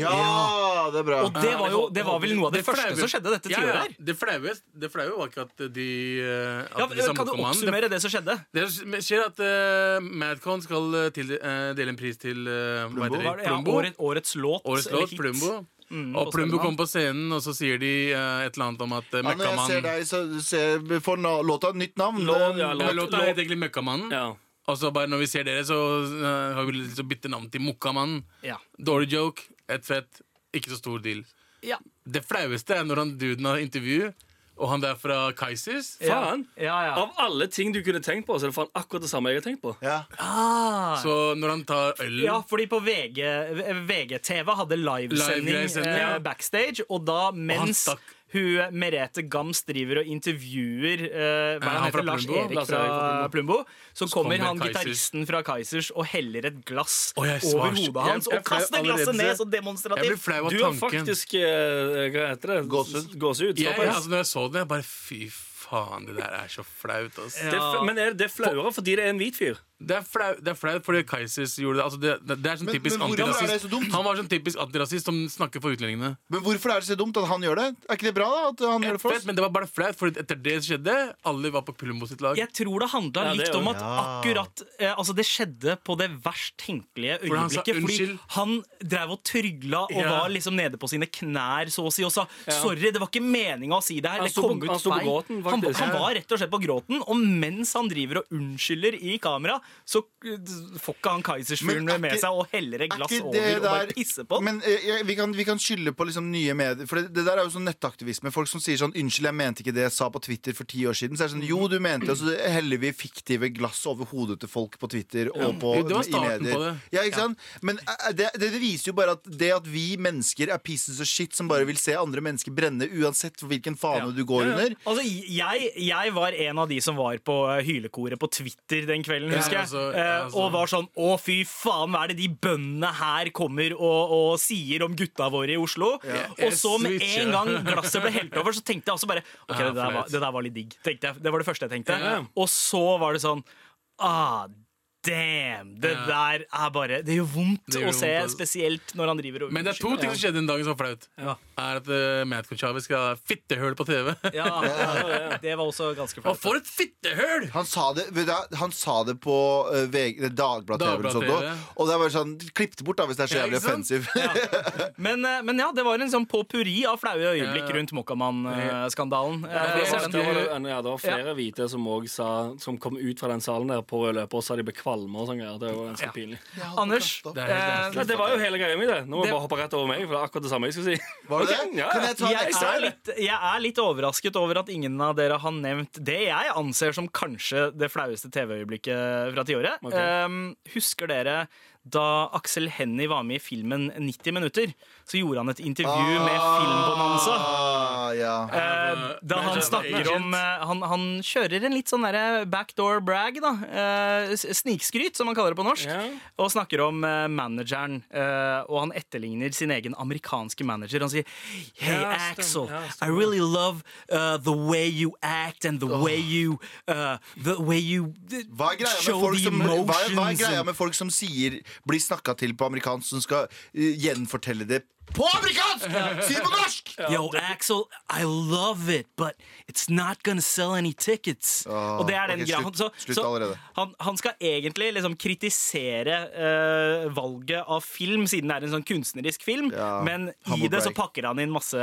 S1: Ja, det er bra.
S2: Og det var jo det var vel noe av det, første som skjedde dette tiåret her.
S3: Det flaue det flaue var ikke at de eh, at
S2: Ja,
S3: disse
S2: kan du
S3: Mokkamann-
S2: oppsummere det som skjedde?
S3: Det som skjer er at eh, Madcon skal eh, til, eh, dele en pris til eh, hva
S2: Var
S3: heter det?
S2: det, ja,
S3: Plumbo.
S2: året, årets låt.
S3: Årets
S2: eller
S3: låt,
S2: hit.
S3: Plumbo. og
S2: og
S3: Plumbo
S2: Spellemann.
S3: kommer på scenen, og så sier de eh, et eller annet om at uh,
S1: Ja, når jeg ser
S3: Møkkamann
S1: deg, så ser, får na- låta et nytt navn.
S4: Lån, ja,
S3: Ja,
S4: lån.
S3: Låta
S4: lån.
S3: het egentlig Møkkamannen.
S4: Ja.
S3: Og så bare når vi ser dere, så eh, har vi lyst til å bytte navn til Mokkamannen.
S2: Ja.
S3: Dårlig joke, et fett, ikke så stor deal.
S2: Ja.
S3: Det flaueste er når han duden har intervju, og han der fra Kaizers
S4: Faen!
S2: Ja, ja.
S4: Av alle ting du kunne tenkt på, så er det faen akkurat det samme jeg har tenkt på.
S1: Ja.
S3: Så når han tar øl
S2: Ja, fordi på VG, VGTV hadde livesending
S3: Livegreier sending,
S2: eh,
S3: ja.
S2: backstage, og da mens
S3: stakk.
S2: hun Merete Gams driver og intervjuer eh, hva er det han
S3: han fra
S2: heter, Lars
S3: Plumbo?
S2: Erik
S3: Altså,
S4: Lars
S2: fra
S4: Erik fra
S2: Plumbo, så kommer
S3: kommer
S2: han
S3: Kaizers.
S2: gitaristen fra Kaizers og heller et glass
S3: Å, jeg
S2: over
S3: svars-
S2: hodet hans
S3: jeg- jeg
S2: og kaster
S3: fløy allerede.
S2: glasset ned så
S3: Jeg blir
S2: demonstrativt.
S3: flau av
S4: Du har
S3: tanken.
S4: faktisk eh, Hva heter det?
S1: Gåsehud.
S4: Gåsehud,
S3: jeg,
S4: såpass.
S3: altså, når jeg så den, jeg bare Fy faen, det der er så flaut. ass.
S4: Det er f- Men er det flauere fordi det er en hvit fyr?
S3: Det er flau- det er flaut fordi Kaizers gjorde det. Altså, det, det, det er sånn
S1: Men-
S3: typisk
S1: men hvorfor er det
S3: antirasist.
S1: så dumt?
S3: Han var sånn typisk antirasist som snakker for utlendingene.
S1: Men hvorfor er det så dumt at han gjør det? Er ikke det bra da, at han gjør det for
S3: Fett,
S1: oss?
S3: men det var bare flaut, for etter det som skjedde, alle var på Plumbo sitt lag.
S2: Jeg tror det handla
S4: Ja, det
S2: litt
S4: er jo-
S2: om at akkurat eh, Altså, det skjedde på det verst tenkelige
S3: Hvor han sa
S2: øyeblikket. Fordi
S3: unnskyld.
S2: han drev og trygla og
S3: Ja.
S2: var liksom nede på sine knær så å si og sa sorry, det var ikke meninga å si det her.
S4: Han
S2: Det
S4: sto på-
S2: kom ut
S4: han sto på
S2: feil.
S4: gråten,
S2: han,
S4: faktisk.
S2: han
S4: Ja.
S2: var rett og slett på gråten, og mens han driver og unnskylder i kamera, så eh, får ikke han Keisersfuglen
S1: Men er
S2: med
S1: ikke-
S2: seg og heller et
S1: Er
S2: glass
S1: ikke
S2: over
S1: det
S2: og bare
S1: der-
S2: pisser på den.
S1: Men eh, jeg- vi, kan, vi kan skylde på liksom nye medier. For det, det der er jo sånn nettaktivisme. Folk som sier sånn 'Unnskyld, jeg mente ikke det jeg sa på Twitter for ti år siden'. Så er det sånn 'Jo, du mente det', og så heller vi fiktive glass over hodet til folk på Twitter og på
S3: Jo, det var
S1: i
S3: starten
S1: medier.
S3: på det.
S1: Ja, ikke sant? Men eh, det, det viser jo bare at det at vi mennesker er pieces of shit som bare vil se andre mennesker brenne, uansett hvilken fane du går under
S2: Altså, jeg, jeg var en av de som var på eh, hylekoret på Twitter den kvelden,
S3: Ja,
S2: husker jeg.
S3: altså, ja,
S2: Eh,
S3: altså.
S2: Og var sånn Å, fy faen, hva er det de bøndene her kommer og, og sier om gutta våre i Oslo? Og så med
S3: Jeg switcher.
S2: en gang glasset ble helt over, så tenkte jeg også bare OK,
S3: Ja,
S2: det der
S3: flaut.
S2: var, det der var litt digg. Tenkte jeg. Det var det første jeg tenkte.
S3: Ja.
S2: Og så var det sånn ah, Damn! Det
S3: Ja.
S2: der er bare Det gjør vondt
S3: Det gjør
S2: å se,
S3: vondt, altså.
S2: spesielt når han driver og
S3: Men det er to ting som skjedde den dagen som var flaut. Er at uh, Madcon Chavez skal ha fittehull på TV.
S2: Ja, det var også ganske flaut.
S3: Og for et fittehull!
S1: Han sa det, vet du hva, han sa det på eh, VG, Dagbladet TV eller
S3: Dagbladet
S1: sånt
S3: TV.
S1: også. Og det er bare sånn, klipp det bort da hvis det er så
S3: Ja,
S1: jævlig
S3: ikke sant?
S1: offensiv.
S2: Men, eh, men ja, det var en sånn potpurri av flaue øyeblikk rundt Mokkamann-skandalen.
S4: Ja,
S2: Eh,
S4: det var-
S2: og
S4: det
S2: den-
S4: var- ja, det var flere hvite som også sa Som kom ut fra den salen der på rød løper og sa de ble kvalme og sånn greier. Det var ganske pinlig.
S2: Anders,
S3: Det er helt
S2: eh,
S4: Nei, det var jo hele greia mi, det. Nå må
S2: Det-
S4: jeg bare hoppe rett over meg, for det er akkurat det samme jeg skulle si.
S1: Var det
S4: Ok,
S1: det?
S4: ja.
S1: Kan jeg ta en
S2: jeg
S1: ekstra?
S2: er, litt, jeg er litt overrasket over at ingen av dere har nevnt det jeg anser som kanskje det flaueste TV-øyeblikket fra tiåret. Ehm,
S4: Ok.
S2: Um, husker dere da Aksel Hennie var med i filmen 90 minutter? så gjorde han et intervju med Filmbonanza.
S1: Ah, ja.
S2: Eh, da han snakker om eh, han, han kjører en litt sånn derre backdoor brag, da. Eh, s- snikskryt, som han kaller det på norsk.
S4: Ja.
S2: Og snakker om eh, manageren, eh, og han etterligner sin egen amerikanske manager. Han sier Hey,
S4: Ja, stemmer.
S2: Axel,
S4: Ja, stemmer.
S2: I really love uh, the way you act and the way you uh, The way you
S1: Hva er greia med
S2: show
S1: folk
S2: the
S1: som, hva er, hva er
S2: emotions
S1: greia
S2: and-
S1: med folk som sier blir snakka til på amerikansk, som skal eh, gjenfortelle det på amerikansk?! Si det på norsk!
S2: Yo, Axel, I love it, but it's not gonna sell any tickets. og det er den
S1: ok,
S2: greia.
S1: slutt-
S2: Så,
S1: slutt
S2: så
S1: allerede.
S2: Han, han skal egentlig liksom kritisere eh, valget av film, siden det er en sånn kunstnerisk film,
S1: Ja,
S2: men i
S1: humble
S2: det så
S1: brag.
S2: pakker han inn masse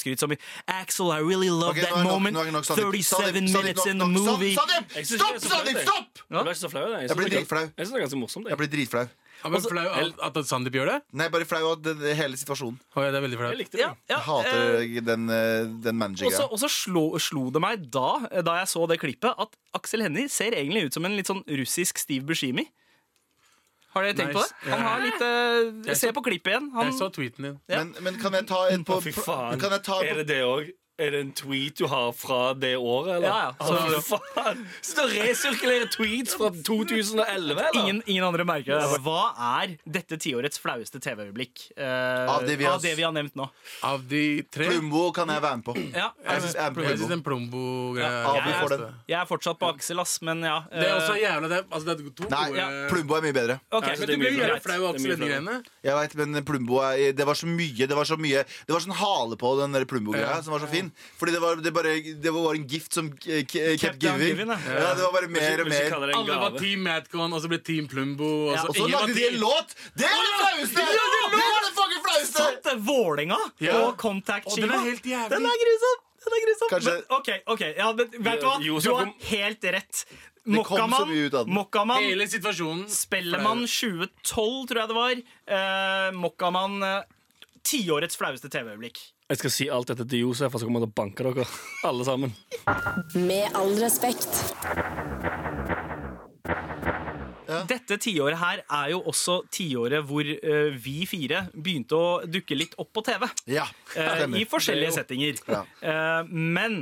S2: skryt som Axel, I really love
S1: Ok, nå
S2: that
S1: er nok-
S2: moment.
S1: nå er nok, Sandeep. Sandeep,
S2: 37
S1: Sandeep,
S2: minutes
S1: nok,
S2: in the
S1: nok. Sa-
S2: movie.
S1: Sandeep,
S4: Jeg synes
S1: Stopp!
S4: det er så flau,
S1: Sandeep,
S4: jeg.
S1: stopp!
S4: Jeg ble ikke så flau. Jeg,
S1: Jeg blir
S4: synes det er
S1: dritflau.
S4: gans- jeg synes det er ganske morsomt.
S1: Jeg
S4: Jeg,
S1: blir dritflau.
S3: Han
S4: Altså,
S3: ble flau av at Sandeep gjør det?
S1: Nei, bare flau av det- det hele situasjonen.
S3: Å, ja, det er veldig
S4: jeg
S3: flaut.
S4: likte det.
S2: Ja, ja,
S1: Jeg hater
S2: eh,
S1: den, eh, den
S2: Og så,
S1: manager-greia.
S2: og så slo, slo det meg da, da jeg så det klippet, at Aksel Hennie ser egentlig ut som en litt sånn russisk Steve Buscimi. Har dere tenkt på
S3: Nice.
S2: det? Han har litt eh,
S3: Jeg
S2: Se
S3: så-
S2: på klippet igjen. Han,
S3: Jeg så tweeten din.
S2: ja.
S1: Men, men kan jeg ta en på
S4: Å, fy faen.
S1: Kan jeg ta en
S4: Er
S1: på
S4: det det òg? Er det en tweet du har fra det året, eller?
S2: Ja, ja.
S4: Å, fy faen. Sitter og resirkulerer tweets fra 2011, eller?
S2: ingen, ingen andre merker det. Hva er dette tiårets flaueste TV-øyeblikk? eh,
S1: Av det vi har-
S2: av det vi har nevnt nå.
S3: Av de tre
S1: Plumbo kan jeg være med på.
S2: Ja,
S1: Jeg syns jeg er med
S3: Jeg
S1: på
S3: syns
S1: Plumbo.
S3: den Plombo-greia
S2: Ja,
S3: er
S1: Abu Eh, får
S3: best,
S1: den.
S3: det.
S2: jeg er fortsatt på Aksel, ass, men ja.
S3: Det er
S2: eh,
S3: også jævla det. Altså, det er to
S1: Nei,
S3: gode
S2: ja.
S1: Plumbo er mye bedre.
S2: ok.
S4: Ja, så
S3: Men
S4: det
S3: du
S4: er
S3: ble
S4: mye
S3: jo jævla
S4: flaut.
S3: flau
S4: Det er mye
S3: av Aksel
S4: flaut.
S3: Hennie-greiene.
S1: Jeg vet, men Plumbo er, Det var så mye Det var så mye Det var sånn hale på den der Plumbo-greia som var så fin. Fordi det var, det bare, det var en gift som k- k- kept
S2: on
S1: giving.
S2: giving,
S1: Ja,
S2: ja.
S1: det var bare mer og
S4: Vil ikke
S1: mer.
S4: kalle det en
S3: Alle var
S4: gave.
S3: Team Madcon, og så ble Team Plumbo. Og så,
S1: Og så
S3: ingen var
S1: lagde de en
S3: team-
S1: låt! Det er det flaueste! Det er det fucking flaueste!
S2: Sant det! Vålinga
S3: Ja.
S2: og Contact
S3: Og den er
S2: Skiva.
S3: helt jævlig.
S2: Den er grusom! Den er grusom.
S1: Kanskje-
S2: Men, OK, ok, ja, men vet du hva?
S4: Jo,
S2: Du
S4: så
S2: har
S4: kom-
S2: helt rett.
S1: kom så
S2: Mokkamann,
S1: mye ut av den.
S2: Mokkamann
S3: Hele situasjonen
S2: Spellemann 2012, tror jeg det var. Eh, Mokkamann eh, Tiårets flaueste TV-øyeblikk.
S4: Jeg skal si alt dette til Josef, og så kommer han til å banke dere. Alle sammen.
S5: Med all respekt.
S2: Dette tiåret her er jo også tiåret hvor eh, vi fire begynte å dukke litt opp på TV.
S1: Ja,
S2: eh, I
S1: stemmer.
S2: forskjellige settinger. Eh, men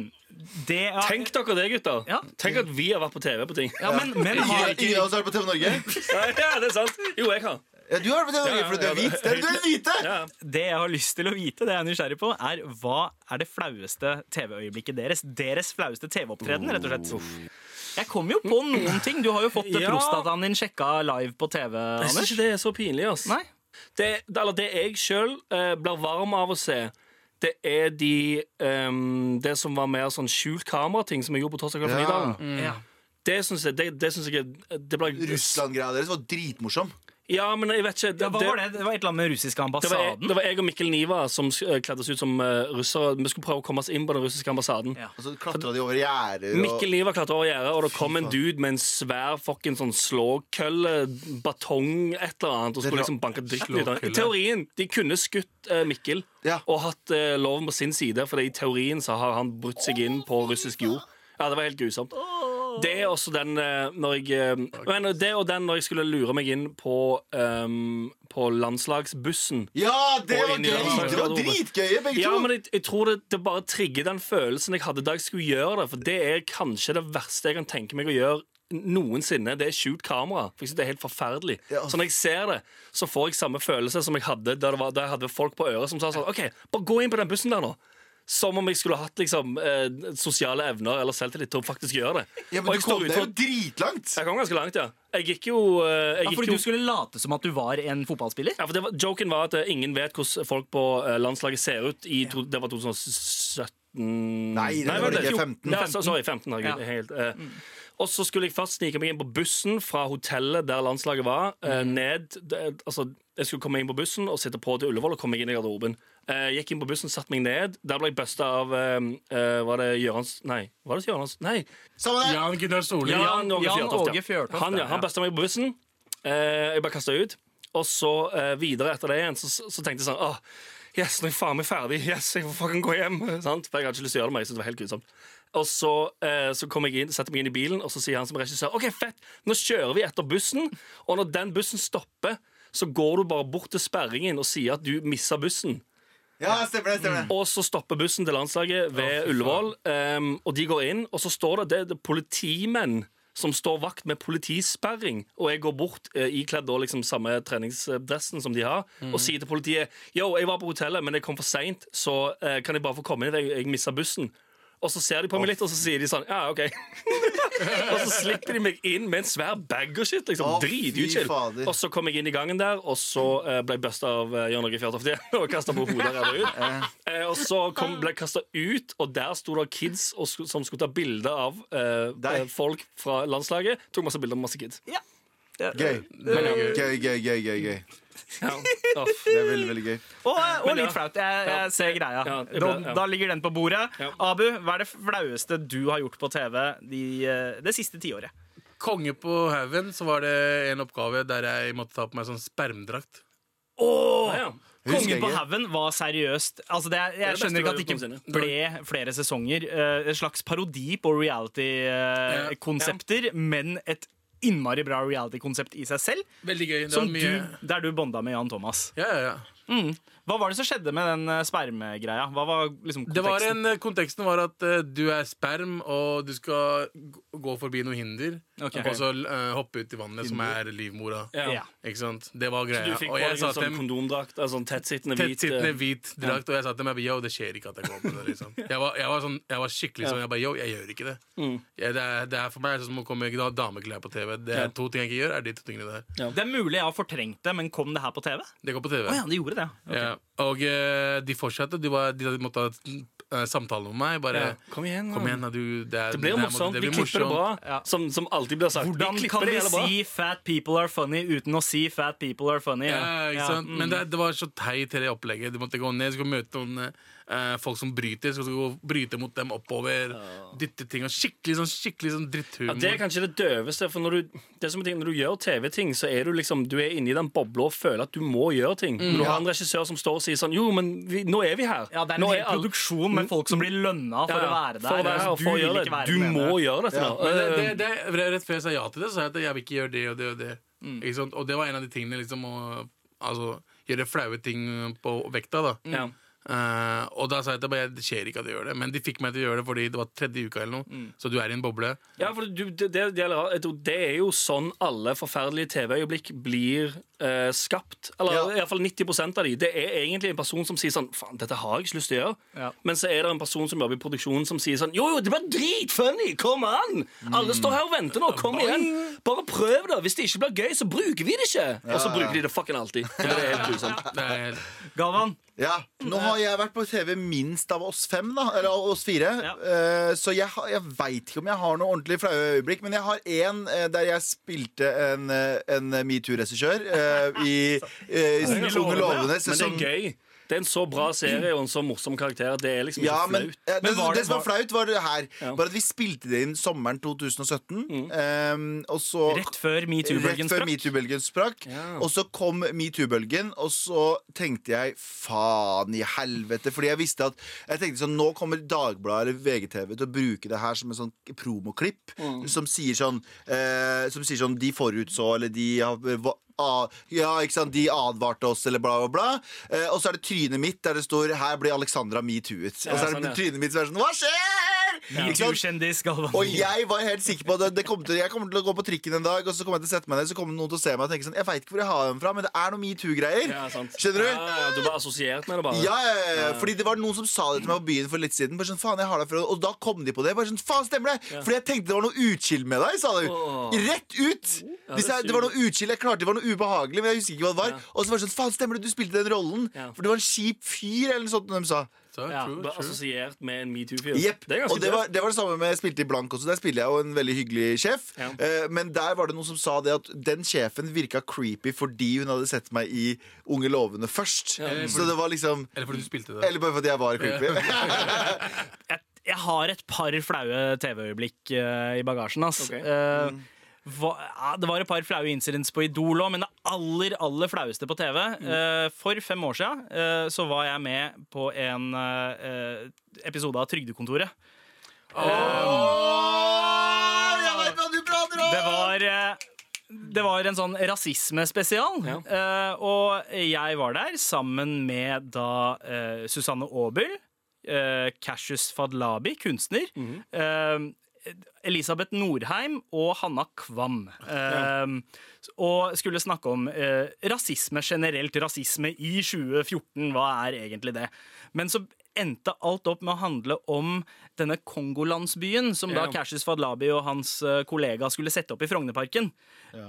S2: det ja,
S4: Tenk dere det, gutter.
S2: Ja.
S4: Tenk at vi har vært på TV på ting.
S2: ja, men, men
S1: Ingen
S2: har
S1: ingen av oss har vært på TV Norge?
S4: Ja, det er sant. Jo, jeg har.
S1: Ja, du har vært på TV Norge
S4: ja,
S1: fordi du
S4: ja,
S1: er hvit. Det er du er hvite!
S4: Ja.
S2: Det jeg har lyst til å vite, det jeg er nysgjerrig på, er hva er det flaueste TV-øyeblikket deres? Deres flaueste TV-opptreden, rett og slett. Jeg kom jo på noen ting. Du har jo fått
S4: Oh. Ja.
S2: prostataen din sjekka live på TV,
S4: Jeg syns
S2: Anders.
S4: ikke det er så pinlig, ass.
S2: Nei?
S4: Det, det, eller det jeg sjøl blir varm av å se, det er de ehm, Det som var mer sånn skjult kamerating som jeg gjorde på torsdag kveld.
S1: Ja.
S4: formiddagen.
S2: Mm. Ja.
S4: Det syns jeg Det, det syns jeg er- det ble,
S1: Russland-greia deres var dritmorsom.
S4: Ja, men jeg vet ikke.
S2: Ja, hva var det? Det var et eller annet med russiske
S4: Det var, jeg,
S2: ambassaden.
S4: det var jeg og Mikkel Niva som eh, kledde oss ut som eh, russere. Vi skulle prøve å komme oss inn på den russiske ambassaden.
S2: Ja.
S1: Og så klatra de over gjerder og
S4: Mikkel Niva klatra over gjerdet, og det kom en dude med en svær fucking sånn slåkølle, batong, et eller annet, og skulle liksom banke dritten ut av ham. I
S3: Slåkølle.
S4: teorien, de kunne skutt eh, Mikkel
S1: Ja.
S4: og hatt eh, loven på sin side, for i teorien så har han brutt seg inn på russisk jord. Ja, det var helt grusomt. Det er også den eh, når jeg eh, men Det og den når jeg skulle lure meg inn på, ehm, på landslagsbussen.
S1: Ja, det
S4: Og
S1: var
S4: inn i
S1: gøy!
S4: landslaget.
S1: Dere var dritgøye, begge
S4: Ja,
S1: to.
S4: men jeg, jeg tror det, det bare trigger den følelsen jeg hadde da jeg skulle gjøre det. For det er kanskje det verste jeg kan tenke meg å gjøre noensinne. Det er skjult kamera. For jeg synes det er helt forferdelig.
S1: Ja.
S4: Så når jeg ser det, så får jeg samme følelse som jeg hadde da, det var, da jeg hadde folk på øret som sa sånn OK, bare gå inn på den bussen der nå. Som om jeg skulle hatt liksom, eh, sosiale evner eller selvtillit til å faktisk gjøre det.
S1: Ja,
S4: Og
S1: men
S4: jeg
S1: du kom
S4: står
S1: deg jo
S4: utenfor-
S1: dritlangt.
S4: Jeg kom ganske langt, ja. Jeg gikk jo, eh, jeg
S2: Ja,
S4: gikk
S2: fordi
S4: jo
S2: du skulle late som at du var en fotballspiller?
S4: ja, for det var, Joken var at eh, ingen vet hvordan folk på eh, landslaget ser ut. I to, det var 2017
S1: Nei, det var det
S4: vent
S1: ikke.
S4: litt. Jo,
S1: 15.
S4: Ja, så, sorry, 15 herregud,
S2: Ja.
S4: jeg er helt, eh. Og så skulle jeg først snike meg inn på bussen fra hotellet der landslaget var, eh, ned det, altså, Jeg skulle komme inn på bussen og sitte på til Ullevål og komme meg inn i garderoben. Eh, gikk inn på bussen, satte meg ned. Der ble jeg busta av eh, eh, Var det Gjørans Nei, var det Gjørans? Nei.
S1: Samme det.
S3: Jan Gunnar Solli.
S4: Ja,
S2: Jan- Jan
S4: Fjørtoft, ja.
S2: Åge Fjørtoft,
S4: Han, ja,
S2: ja.
S4: han besta meg på bussen. Eh, jeg bare kasta ut. Og så eh, videre etter det igjen, så, så tenkte jeg sånn Åh, Yes, nå er jeg faen meg ferdig. Yes, jeg får fucking gå hjem. Sant? For jeg hadde ikke lyst til å gjøre det, men jeg syntes det var helt grusomt. Og så, eh, så kom jeg inn, setter meg inn i bilen, og så sier han som regissør OK, fett, nå kjører vi etter bussen. Og når den bussen stopper, så går du bare bort til sperringen og sier at du missa bussen.
S1: Ja, stemmer det. stemmer det
S4: Og så stopper bussen til landslaget ved Ullevål, ehm, og de går inn, og så står det, det, det er politimenn som står vakt med politisperring, og jeg går bort eh, ikledd da liksom samme treningsdressen som de har,
S1: Mm.
S4: og sier til politiet Yo, jeg var på hotellet, men jeg kom for seint, så eh, kan jeg bare få komme inn? Jeg, jeg mista bussen. Og så ser de på meg litt, og så sier de sånn Ja, OK. og så slipper de meg inn med en svær bag og shit. liksom
S1: Å, fy
S4: Drituchill.
S1: fader.
S4: Og så kom jeg inn i gangen der, og så eh, ble jeg busta av eh, Jørn Åge Fjørtoft igjen. Og kastet på hodet og redda ut. Eh, og så kom, ble jeg kasta ut, og der sto det kids og, sku- som skulle ta bilde av eh,
S1: Deg.
S4: eh, folk fra landslaget. Tok masse bilder med masse kids. Mm.
S1: Gøy. Gøy, gøy, gøy, gøy, gøy, gøy.
S4: Ja. Ja.
S1: Det er veldig, veldig gøy.
S2: Og, eh, og
S4: Men ja.
S2: litt flaut. Jeg,
S4: Ja.
S2: jeg ser greia.
S4: Ja, det er
S2: da,
S4: bra, ja.
S2: da ligger den på bordet.
S4: Ja.
S2: Abu, hva er det flaueste du har gjort på TV de, eh, det siste tiåret?
S3: Konge på haugen, så var det en oppgave der jeg måtte ta på meg sånn spermdrakt.
S4: Ja, ja.
S1: Husker
S2: Kongen
S1: jeg
S2: på
S1: ikke.
S2: haugen var seriøst altså det, er- Jeg
S4: beste
S2: skjønner ikke
S4: vi
S2: at det
S4: har gjort
S2: ikke ble flere sesonger. eh, En slags parodi på
S3: Ja.
S2: reality-konsepter, men et innmari bra reality-konsept i seg selv,
S3: Veldig gøy. Det
S2: som
S3: var mye...
S2: du, der du bonda med Jan Thomas.
S3: Ja, ja, ja.
S2: Hva var det som skjedde med den eh, spermegreia? Hva var liksom konteksten?
S3: Det var en, konteksten var at eh, du er sperm, og du skal g- gå forbi noen hinder.
S2: Ok.
S3: Og så eh, hoppe ut i vannet, som er livmora.
S4: Ja.
S2: ja.
S3: Ikke sant? Det var
S4: Du
S3: greia.
S4: fikk
S3: Og
S4: på
S3: jeg
S4: deg
S3: sa
S4: en
S3: til
S4: sånn
S3: dem
S4: kondomdrakt, altså en tettsittende hvit
S3: tettsittende
S4: eh,
S3: hvit drakt, og jeg sa til dem jeg bare, yo, det skjer ikke at jeg går med det. liksom Jeg var, jeg var, sånn, jeg var skikkelig sånn. Jeg bare, yo, jeg gjør ikke det.
S4: Mm.
S3: Jeg, det, er, det er for meg er det som å komme i dameklær på TV. Det
S4: Ja.
S3: er to ting jeg ikke gjør, er de to tingene der.
S2: Det er mulig jeg har fortrengt det, men kom det her på TV?
S3: Det går på TV.
S2: Å ja, det gjorde det. ja.
S3: Ja, og eh, de fortsatte. De, var, de måtte ha eh, samtale med meg. Bare
S4: Ja. Kom igjen, da.
S3: Kom igjen, da, du. Det, er,
S4: Det blir
S3: her må-
S4: morsomt.
S3: det
S4: Vi
S3: blir
S4: klipper det bra,
S3: morsomt.
S2: Ja.
S4: som, som alltid blir sagt.
S2: Hvordan
S4: vi
S2: kan
S4: klipper det
S2: vi
S4: jævla bra.
S2: si 'fat people are funny' uten å si 'fat people are funny'?
S3: Ja, ikke sant?
S2: mm.
S3: Men det, det var så teit, hele opplegget. Du måtte gå ned, skulle møte noen eh, folk som bryter. Så skulle du gå- bryte mot dem oppover. Dytte ting og Skikkelig sånn, skikkelig sånn
S4: Ja,
S3: dritthumor.
S4: det er kanskje det døveste. For når du, det er som en ting, når du gjør TV-ting, så er du liksom Du er inni den bobla og føler at du må gjøre ting. når du har en regissør som står og sier sånn Jo, men vi, nå er Mm. vi her.
S2: Ja, det er en
S4: nå
S2: hel Mm.
S4: all-
S2: produksjon med folk som blir lønna for
S4: Ja,
S2: å være der.
S4: For å være her,
S2: Altså,
S4: og for å
S2: vil
S4: gjøre
S2: ikke være
S4: det. Du
S2: den ene.
S4: må gjøre dette.
S1: Ja,
S4: nå.
S3: Men det, det,
S4: Eh,
S3: det, re- rett før jeg sa ja til det, så sa jeg at jeg vil ikke gjøre det og det og det.
S4: Mm.
S3: Ikke sant? Og det var en av de tingene liksom å altså, gjøre flaue ting på vekta, da.
S4: Mm. Ja.
S3: Eh, og da sa jeg at det, bare, det skjer ikke at jeg gjør det, men de fikk meg til å gjøre det fordi det var tredje uka eller noe.
S4: Mm.
S3: Så du er i en boble.
S4: Ja, for du, det, det, gjelder- jeg tror det er jo sånn alle forferdelige TV-øyeblikk blir eh, skapt.
S1: Ja.
S4: Eller i hvert fall 90 av de. Det er egentlig en person som sier sånn Faen, dette har jeg ikke lyst til å gjøre.
S2: Ja.
S4: Men så er det en person som jobber i produksjonen som sier sånn Jo, jo, det blir dritfunny! Kom an! Alle står her og venter nå. Kom igjen! Bare prøv, da! Hvis det ikke blir gøy, så bruker vi det ikke! Og så bruker de det fucking alltid. Så det er helt grusomt.
S3: Det er,
S2: Galvan,
S1: Ja, Nå har jeg vært på TV minst av oss fem, da. Eller av oss fire.
S2: Ja.
S1: Eh, så jeg, har- jeg veit ikke om jeg har noe ordentlig flaue øyeblikk. Men jeg har én der jeg spilte en, eh, en metoo-regissør eh, i eh, i Sone Lovende.
S4: Men det
S1: sesong-
S4: er gøy. Det er en så bra serie og en så morsom karakter. Det er liksom ikke
S1: Ja, men,
S4: flaut.
S1: eh, det,
S2: Men var
S1: det
S2: det-
S1: som var
S2: var-
S1: flaut, var det her.
S4: Ja.
S1: Bare at vi spilte det inn sommeren 2017. eh, og så
S2: rett før
S1: Rett
S2: metoo-bølgen
S1: før
S2: sprakk.
S1: metoo-bølgen sprakk. Og så kom metoo-bølgen, og så tenkte jeg faen i helvete. Fordi jeg visste at jeg tenkte sånn, nå kommer Dagbladet eller VGTV til å bruke det her som en sånn promoklipp
S4: Mm.
S1: som sier sånn eh, Som sier sånn De forutså, eller de har hva- a- ja, ikke sant, De advarte oss, eller bla, bla, bla. Eh, og så er det trynet mitt der det står 'Her blir Alexandra metoo-et'. og så er det
S4: sånn, ja.
S1: trynet mitt som er sånn Hva skjer?! Ikke sant?
S2: Metoo-kjendis, Galvan.
S1: Og jeg var helt sikker på at det- det kom til, Jeg kommer til å gå på trikken en dag, og så kommer jeg til å sette meg ned, så kommer noen til å se meg og tenke sånn Jeg veit ikke hvor jeg har dem fra, men det er noe metoo-greier.
S4: Ja, sant.
S1: Skjønner du?
S4: Ja, ja, du var assosiert med det, bare.
S1: Ja, ja, ja, ja, fordi det var noen som sa det til meg på byen for litt siden. Bare sånn, faen, jeg har deg fra Og da kom de på det. Bare sånn, faen, stemmer det? Fordi jeg tenkte det var noe utskill med deg, sa du.
S4: Åh.
S1: Rett ut! Hvis jeg, det var noe utskill, jeg klarte det var noe ubehagelig, men jeg husker ikke hva det var. Og så var det sånn, faen, stemmer det, du spilte den rollen?
S4: Ja.
S1: For du var en kjip fyr, eller noe sånt, de sa.
S3: så,
S2: Ja,
S3: true,
S4: Bare
S3: true.
S4: assosiert med en metoo-fyr.
S1: Jepp.
S4: Det er
S1: og
S4: ganske
S1: det
S4: tøft.
S1: var, det var det samme med jeg spilte i Blank også. Der spiller jeg jo en veldig hyggelig sjef.
S4: Ja.
S1: Eh, men der var det noen som sa det at den sjefen virka creepy fordi hun hadde sett meg i Unge lovende først. Så det var liksom
S3: Eller fordi du spilte det.
S1: Eller bare fordi jeg var creepy.
S2: jeg, jeg har et par flaue TV-øyeblikk eh, i bagasjen. Ass.
S4: Ok.
S2: Eh,
S1: Mm.
S2: hva, ja, det var et par flaue incidents på Idol òg, men det aller aller flaueste på TV
S1: Mm.
S2: eh, For fem år siden eh, så var jeg med på en eh, eh, episode av Trygdekontoret.
S1: Åh, jeg vet hva du prater om!
S2: Det var eh, det var en sånn rasismespesial.
S4: Ja.
S2: eh, og jeg var der sammen med da eh, Susanne Aabel, eh, Cassius Fadlabi, kunstner,
S4: Mhm.
S2: eh, Elisabeth Norheim og Hanna Kvam. Eh, Og skulle snakke om eh, rasisme generelt. Rasisme i 2014, hva er egentlig det? Men så endte alt opp med å handle om denne kongolandsbyen som da
S4: Ja.
S2: Cassius Fadlabi og hans eh, kollega skulle sette opp i Frognerparken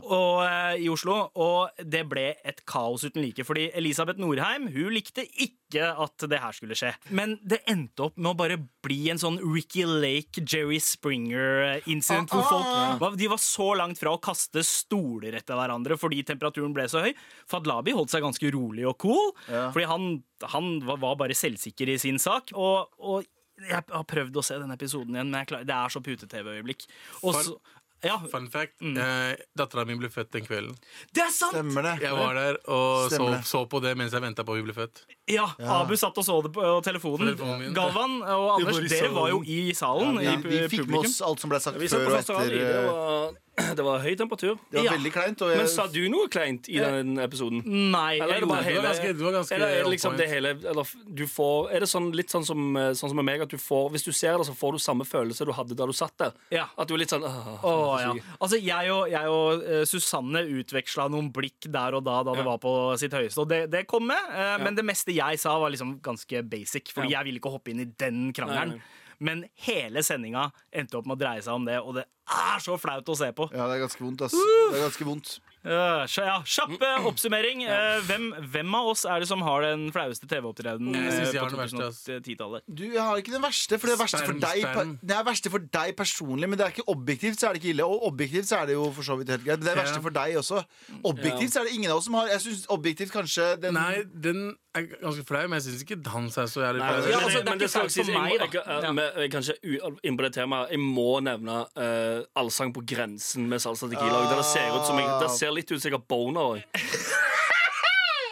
S2: og, eh, i Oslo. Og det ble et kaos uten like, fordi Elisabeth Norheim hun likte ikke at det her skulle skje. Men det endte opp med å bare bli en sånn Ricky Lake, Jerry Springer-incident. Hvor folk var, de var så langt fra å kaste stoler etter hverandre fordi temperaturen ble så høy. Fadlabi holdt seg ganske rolig og cool, fordi han, han var- var bare selvsikker i sin sak. Og, og jeg har prøvd å se denne episoden igjen, men jeg klarer, det er så pute-TV-øyeblikk. Og så- Ja,
S3: Fun fact. Eh, Dattera mi ble født den kvelden.
S2: det er sant!
S1: Stemmer det.
S3: Jeg var der og så,
S1: Stemmer det.
S3: så på det mens jeg venta på at vi ble født.
S2: Ja, Abu satt og så det på eh, telefonen.
S3: Telefonen min.
S2: Galvan og Anders,
S3: var i
S2: dere var jo i salen.
S1: Vi,
S2: i pu-
S1: vi fikk med
S2: publikum.
S1: oss alt som ble sagt
S4: Vi satt
S1: før
S4: på
S1: og
S4: første rad.
S1: etter.
S4: i, Det
S1: eh,
S4: var, det var høy temperatur.
S1: Det var
S2: Ja.
S1: veldig kleint. Og
S4: Men sa
S1: jeg,
S4: du noe kleint i den episoden?
S2: Nei,
S4: Eller er
S2: jeg
S4: det
S2: gjorde
S4: bare
S3: det var
S4: hele
S3: ganske- det var ganske
S4: Eller er det liksom
S3: on point.
S4: det hele eller f- du får, Er det sånn, litt sånn som, eh, sånn som med meg, at du får Hvis du ser det, så får du samme følelse du hadde da du satt der?
S2: Ja.
S4: At du er litt sånn «Åh,
S2: Å,
S4: så
S2: ja.
S4: syk».
S2: Altså, jeg og, jeg og eh, Susanne utveksla noen blikk der og da da det var på sitt høyeste, og det, det kom med. eh, Men det meste jeg sa, var liksom ganske basic, fordi
S4: Ja.
S2: jeg ville ikke hoppe inn i den krangelen.
S4: Nei, nei.
S2: Men hele sendinga endte opp med å dreie seg om det, og det er så flaut å se på.
S1: ja, det er ganske vondt, ass. Det er ganske vondt.
S2: Eh, så ja, kjapp eh, oppsummering. Eh, hvem, hvem av oss er det som har den flaueste TV-opptredenen
S3: Jeg synes
S2: eh,
S3: jeg
S2: på
S3: har den verste, ass.
S2: 2010-tallet?
S1: Du, jeg har ikke den verste, for det er verste for
S3: Sperm,
S1: deg,
S3: sperm.
S1: pe- det er verste for deg personlig. Men det er ikke objektivt, så er det ikke ille. Og objektivt så er det jo for så vidt helt greit. Men det er
S3: Ja.
S1: verste for deg også. Objektivt så er det ingen av oss som har Jeg synes objektivt kanskje den
S3: Nei, den er ganske flau, men jeg syns ikke dans er så jævlig
S4: Nei,
S3: flau.
S4: men-
S2: Ja,
S4: men-
S2: altså, det er
S4: men det
S2: ikke
S4: skal
S2: sant for
S4: sies, jeg må-
S2: meg, da.
S4: jeg- jeg-
S2: Ja.
S4: men jeg- Kanskje u- inn på det temaet. Jeg må nevne eh, Allsang på grensen med Salsa
S1: Ah.
S4: Tequila. Det ser, ut som jeg, det ser litt ut som jeg har boner. også.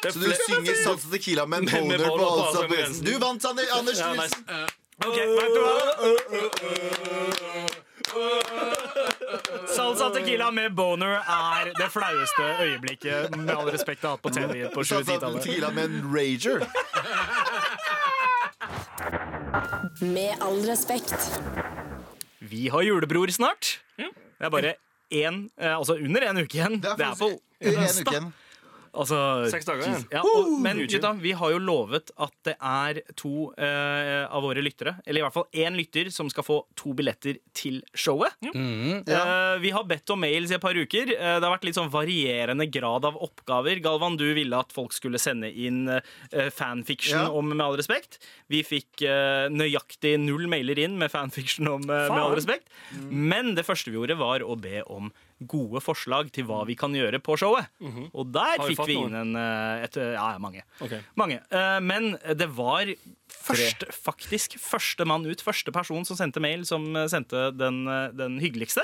S4: Det er
S1: Så du
S4: fle-
S1: synger Salsa Tequila med en
S4: Med- med
S1: boner på
S4: boner på
S1: Alsa
S4: Alsa på
S1: Brensen.
S4: grensen.
S1: Du vant, Sander- Anders
S4: Ja,
S1: Nilsen.
S4: nice.
S2: Ok, vet du hva? Salsa tequila med boner er det flaueste øyeblikket med all respekt jeg har hatt på TV på
S1: Salsa
S2: 2010-tallet.
S1: Tequila med en rager.
S5: Med all respekt.
S2: Vi har julebror snart.
S3: Hm?
S2: Det er bare én, eh, altså under en uke igjen.
S1: Det er
S2: på
S1: faktisk en uke igjen.
S2: altså,
S4: Seks dager igjen.
S2: Ja, og, men gutta, vi har jo lovet at det er to eh, av våre lyttere, eller i hvert fall én lytter, som skal få to billetter til showet. Eh, vi har bedt om mails i et par uker. Eh, det har vært litt sånn varierende grad av oppgaver. Galvan, du ville at folk skulle sende inn eh, fanfiction
S1: Ja.
S2: om Med all respekt. Vi fikk eh, nøyaktig null mailer inn med fanfiction om eh, Med all
S4: Faen.
S2: respekt. Men det første vi gjorde, var å be om gode forslag til hva vi kan gjøre på showet. Og der
S4: Mhm. Har vi
S2: fikk
S4: fått
S2: vi
S4: noen?
S2: inn en eh, et, eh, Ja, ja, mange.
S4: Ok.
S2: mange. Eh, men det var først, faktisk første mann ut, første person som sendte mail, som eh, sendte den, eh, den hyggeligste.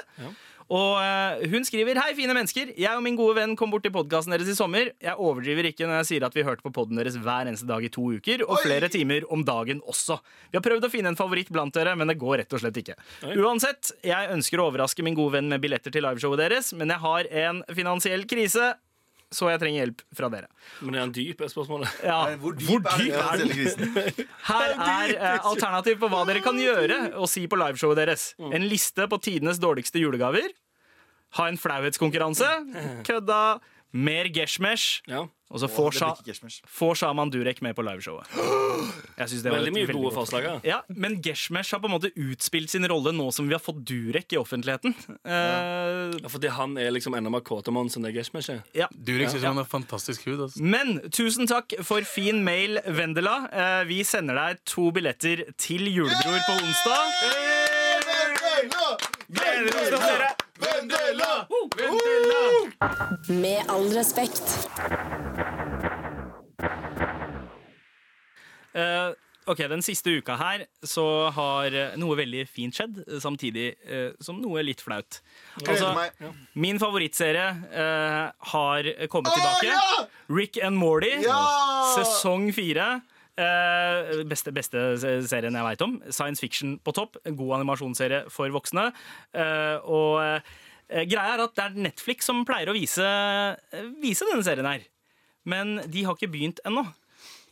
S2: Og eh, hun skriver Hei, fine mennesker. Jeg og min gode venn kom bort til podkasten deres i sommer. Jeg overdriver ikke når jeg sier at vi hørte på podden deres hver eneste dag i to uker, og flere timer om dagen også. Vi har prøvd å finne en favoritt blant dere, men det går rett og slett ikke. Uansett, jeg ønsker å overraske min gode venn med billetter til liveshowet deres, men jeg har en finansiell krise, så jeg trenger hjelp fra dere.
S4: Men er han dyp, er spørsmålet?
S2: Ja,
S1: Eh, Hvor dyp er den finansielle krisen?
S2: her er eh, alternativ på hva dere kan gjøre og si på liveshowet deres. En liste på tidenes dårligste julegaver. Ha en flauhetskonkurranse. Kødda. Mer geshmesh.
S4: Ja.
S2: Og så får,
S1: Det
S2: sha
S1: blir ikke Gershmers.
S2: får Shaman Durek med på liveshowet. Jeg synes det var
S4: Veldig
S2: et
S4: mye gode
S2: godt
S4: forslag. ja.
S2: ja, Men Geshmesh har på en måte utspilt sin rolle nå som vi har fått Durek i offentligheten. Eh,
S4: Ja, Fordi han er liksom enda mer kåtemann enn deg, Geshmesh. er.
S2: ja.
S3: Durek syns han har fantastisk hud. Altså.
S2: Men tusen takk for fin mail, Vendela. Eh, vi sender deg to billetter til julebror på onsdag. Gleder oss til å se dere!
S1: Vendela!
S5: Med all respekt.
S2: Eh, ok, Den siste uka her så har eh, noe veldig fint skjedd, eh, samtidig eh, som noe litt flaut. Altså,
S1: Gleder meg.
S2: min favorittserie eh, har kommet tilbake.
S1: ja!
S2: Rick and Morty,
S1: Ja!
S2: sesong fire. Eh, beste, beste se- serien jeg veit om. Science fiction på topp. En God animasjonsserie for voksne. Eh, og eh, Eh, Greia er at det er Netflix som pleier å vise, eh, vise denne serien her. Men de har ikke begynt ennå.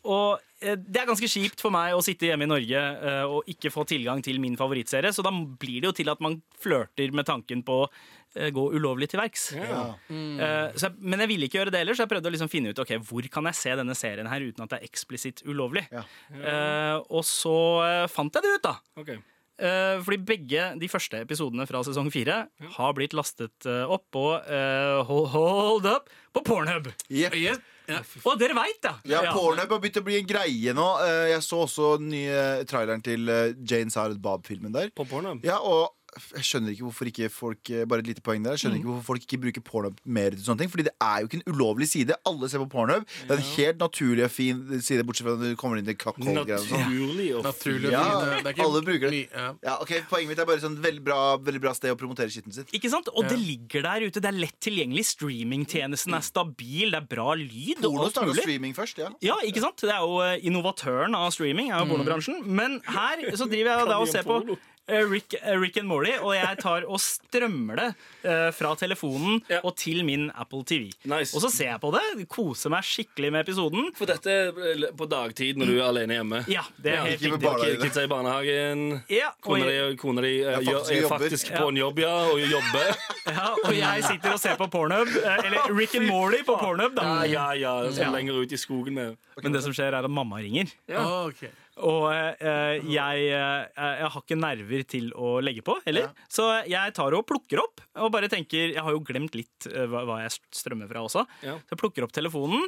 S2: Og eh, det er ganske kjipt for meg å sitte hjemme i Norge eh, og ikke få tilgang til min favorittserie, så da blir det jo til at man flørter med tanken på å eh, gå ulovlig til verks. Eh, så jeg, men jeg ville ikke gjøre det heller, så jeg prøvde å liksom finne ut ok, hvor kan jeg se denne serien her uten at det er eksplisitt ulovlig.
S1: Ja.
S2: Eh, og så eh, fant jeg det ut, da.
S4: Ok.
S2: Eh, fordi begge de første episodene fra sesong fire har blitt lastet eh, opp og eh, hold, hold up på Pornhub.
S1: Jepp.
S3: Yes. Ja.
S2: Og dere veit, da!
S1: Ja,
S2: Ja.
S1: Pornhub har begynt å bli en greie nå. Eh, Jeg så også den nye traileren til eh, Jane Silent Bob-filmen der.
S4: På Pornhub.
S1: Ja, og jeg skjønner ikke hvorfor ikke folk eh, Bare et lite poeng der Jeg skjønner ikke hvorfor folk ikke bruker Pornhub mer til sånne ting Fordi det er jo ikke en ulovlig side Alle ser på Pornhub Det er en helt naturlig og fin side Bortsett fra når du kommer inn i kakkoldgreier og sånn
S4: Naturlig og
S3: Naturlig.
S1: Ja,
S3: og fin, det er ikke
S1: alle bruker det.
S3: mye- Ja.
S1: ja, ok, Poenget mitt er bare sånn veldig bra, veldig bra sted å promotere skitten sin
S2: Ikke sant? Og det ligger der ute. Det er lett tilgjengelig. Streamingtjenesten er stabil, det er bra lyd. og
S1: Porno
S2: alt
S1: starter
S2: mulig.
S1: streaming først, ja
S2: Ja, ikke sant? Det er jo eh, innovatøren av streaming,
S4: Mm.
S2: er jo pornobransjen. Men her så driver jeg da og
S4: mye
S2: ser på
S4: porno.
S2: eh, Rick, eh, Rick and Morty, og jeg tar og strømmer det eh, fra telefonen
S4: Ja.
S2: og til min Apple TV.
S4: Nice.
S2: Og så ser jeg på det, koser meg skikkelig med episoden.
S4: For dette er på dagtid når du er alene hjemme.
S2: Ja, det er helt
S1: ikke med
S2: riktig.
S1: barn.
S4: Ki- Kidsa i barnehagen.
S2: Ja, og,
S4: Kona di, kona di eh,
S1: Ja, faktisk
S4: gjør- er
S1: jobber.
S4: faktisk på en jobb, ja, og jobber.
S2: ja, og jeg sitter og ser på Pornhub, eh, eller Rick and Morty på Pornhub, da.
S4: Ja, ja, ja. Så lenger ut i skogen med
S2: Men det som skjer, er at mamma ringer.
S3: Ah, ok.
S2: Og eh, jeg, eh, jeg har ikke nerver til å legge på heller. Så jeg tar og plukker opp og bare tenker Jeg har jo glemt litt eh, hva, hva jeg strømmer fra også.
S4: Ja.
S2: Så jeg plukker opp telefonen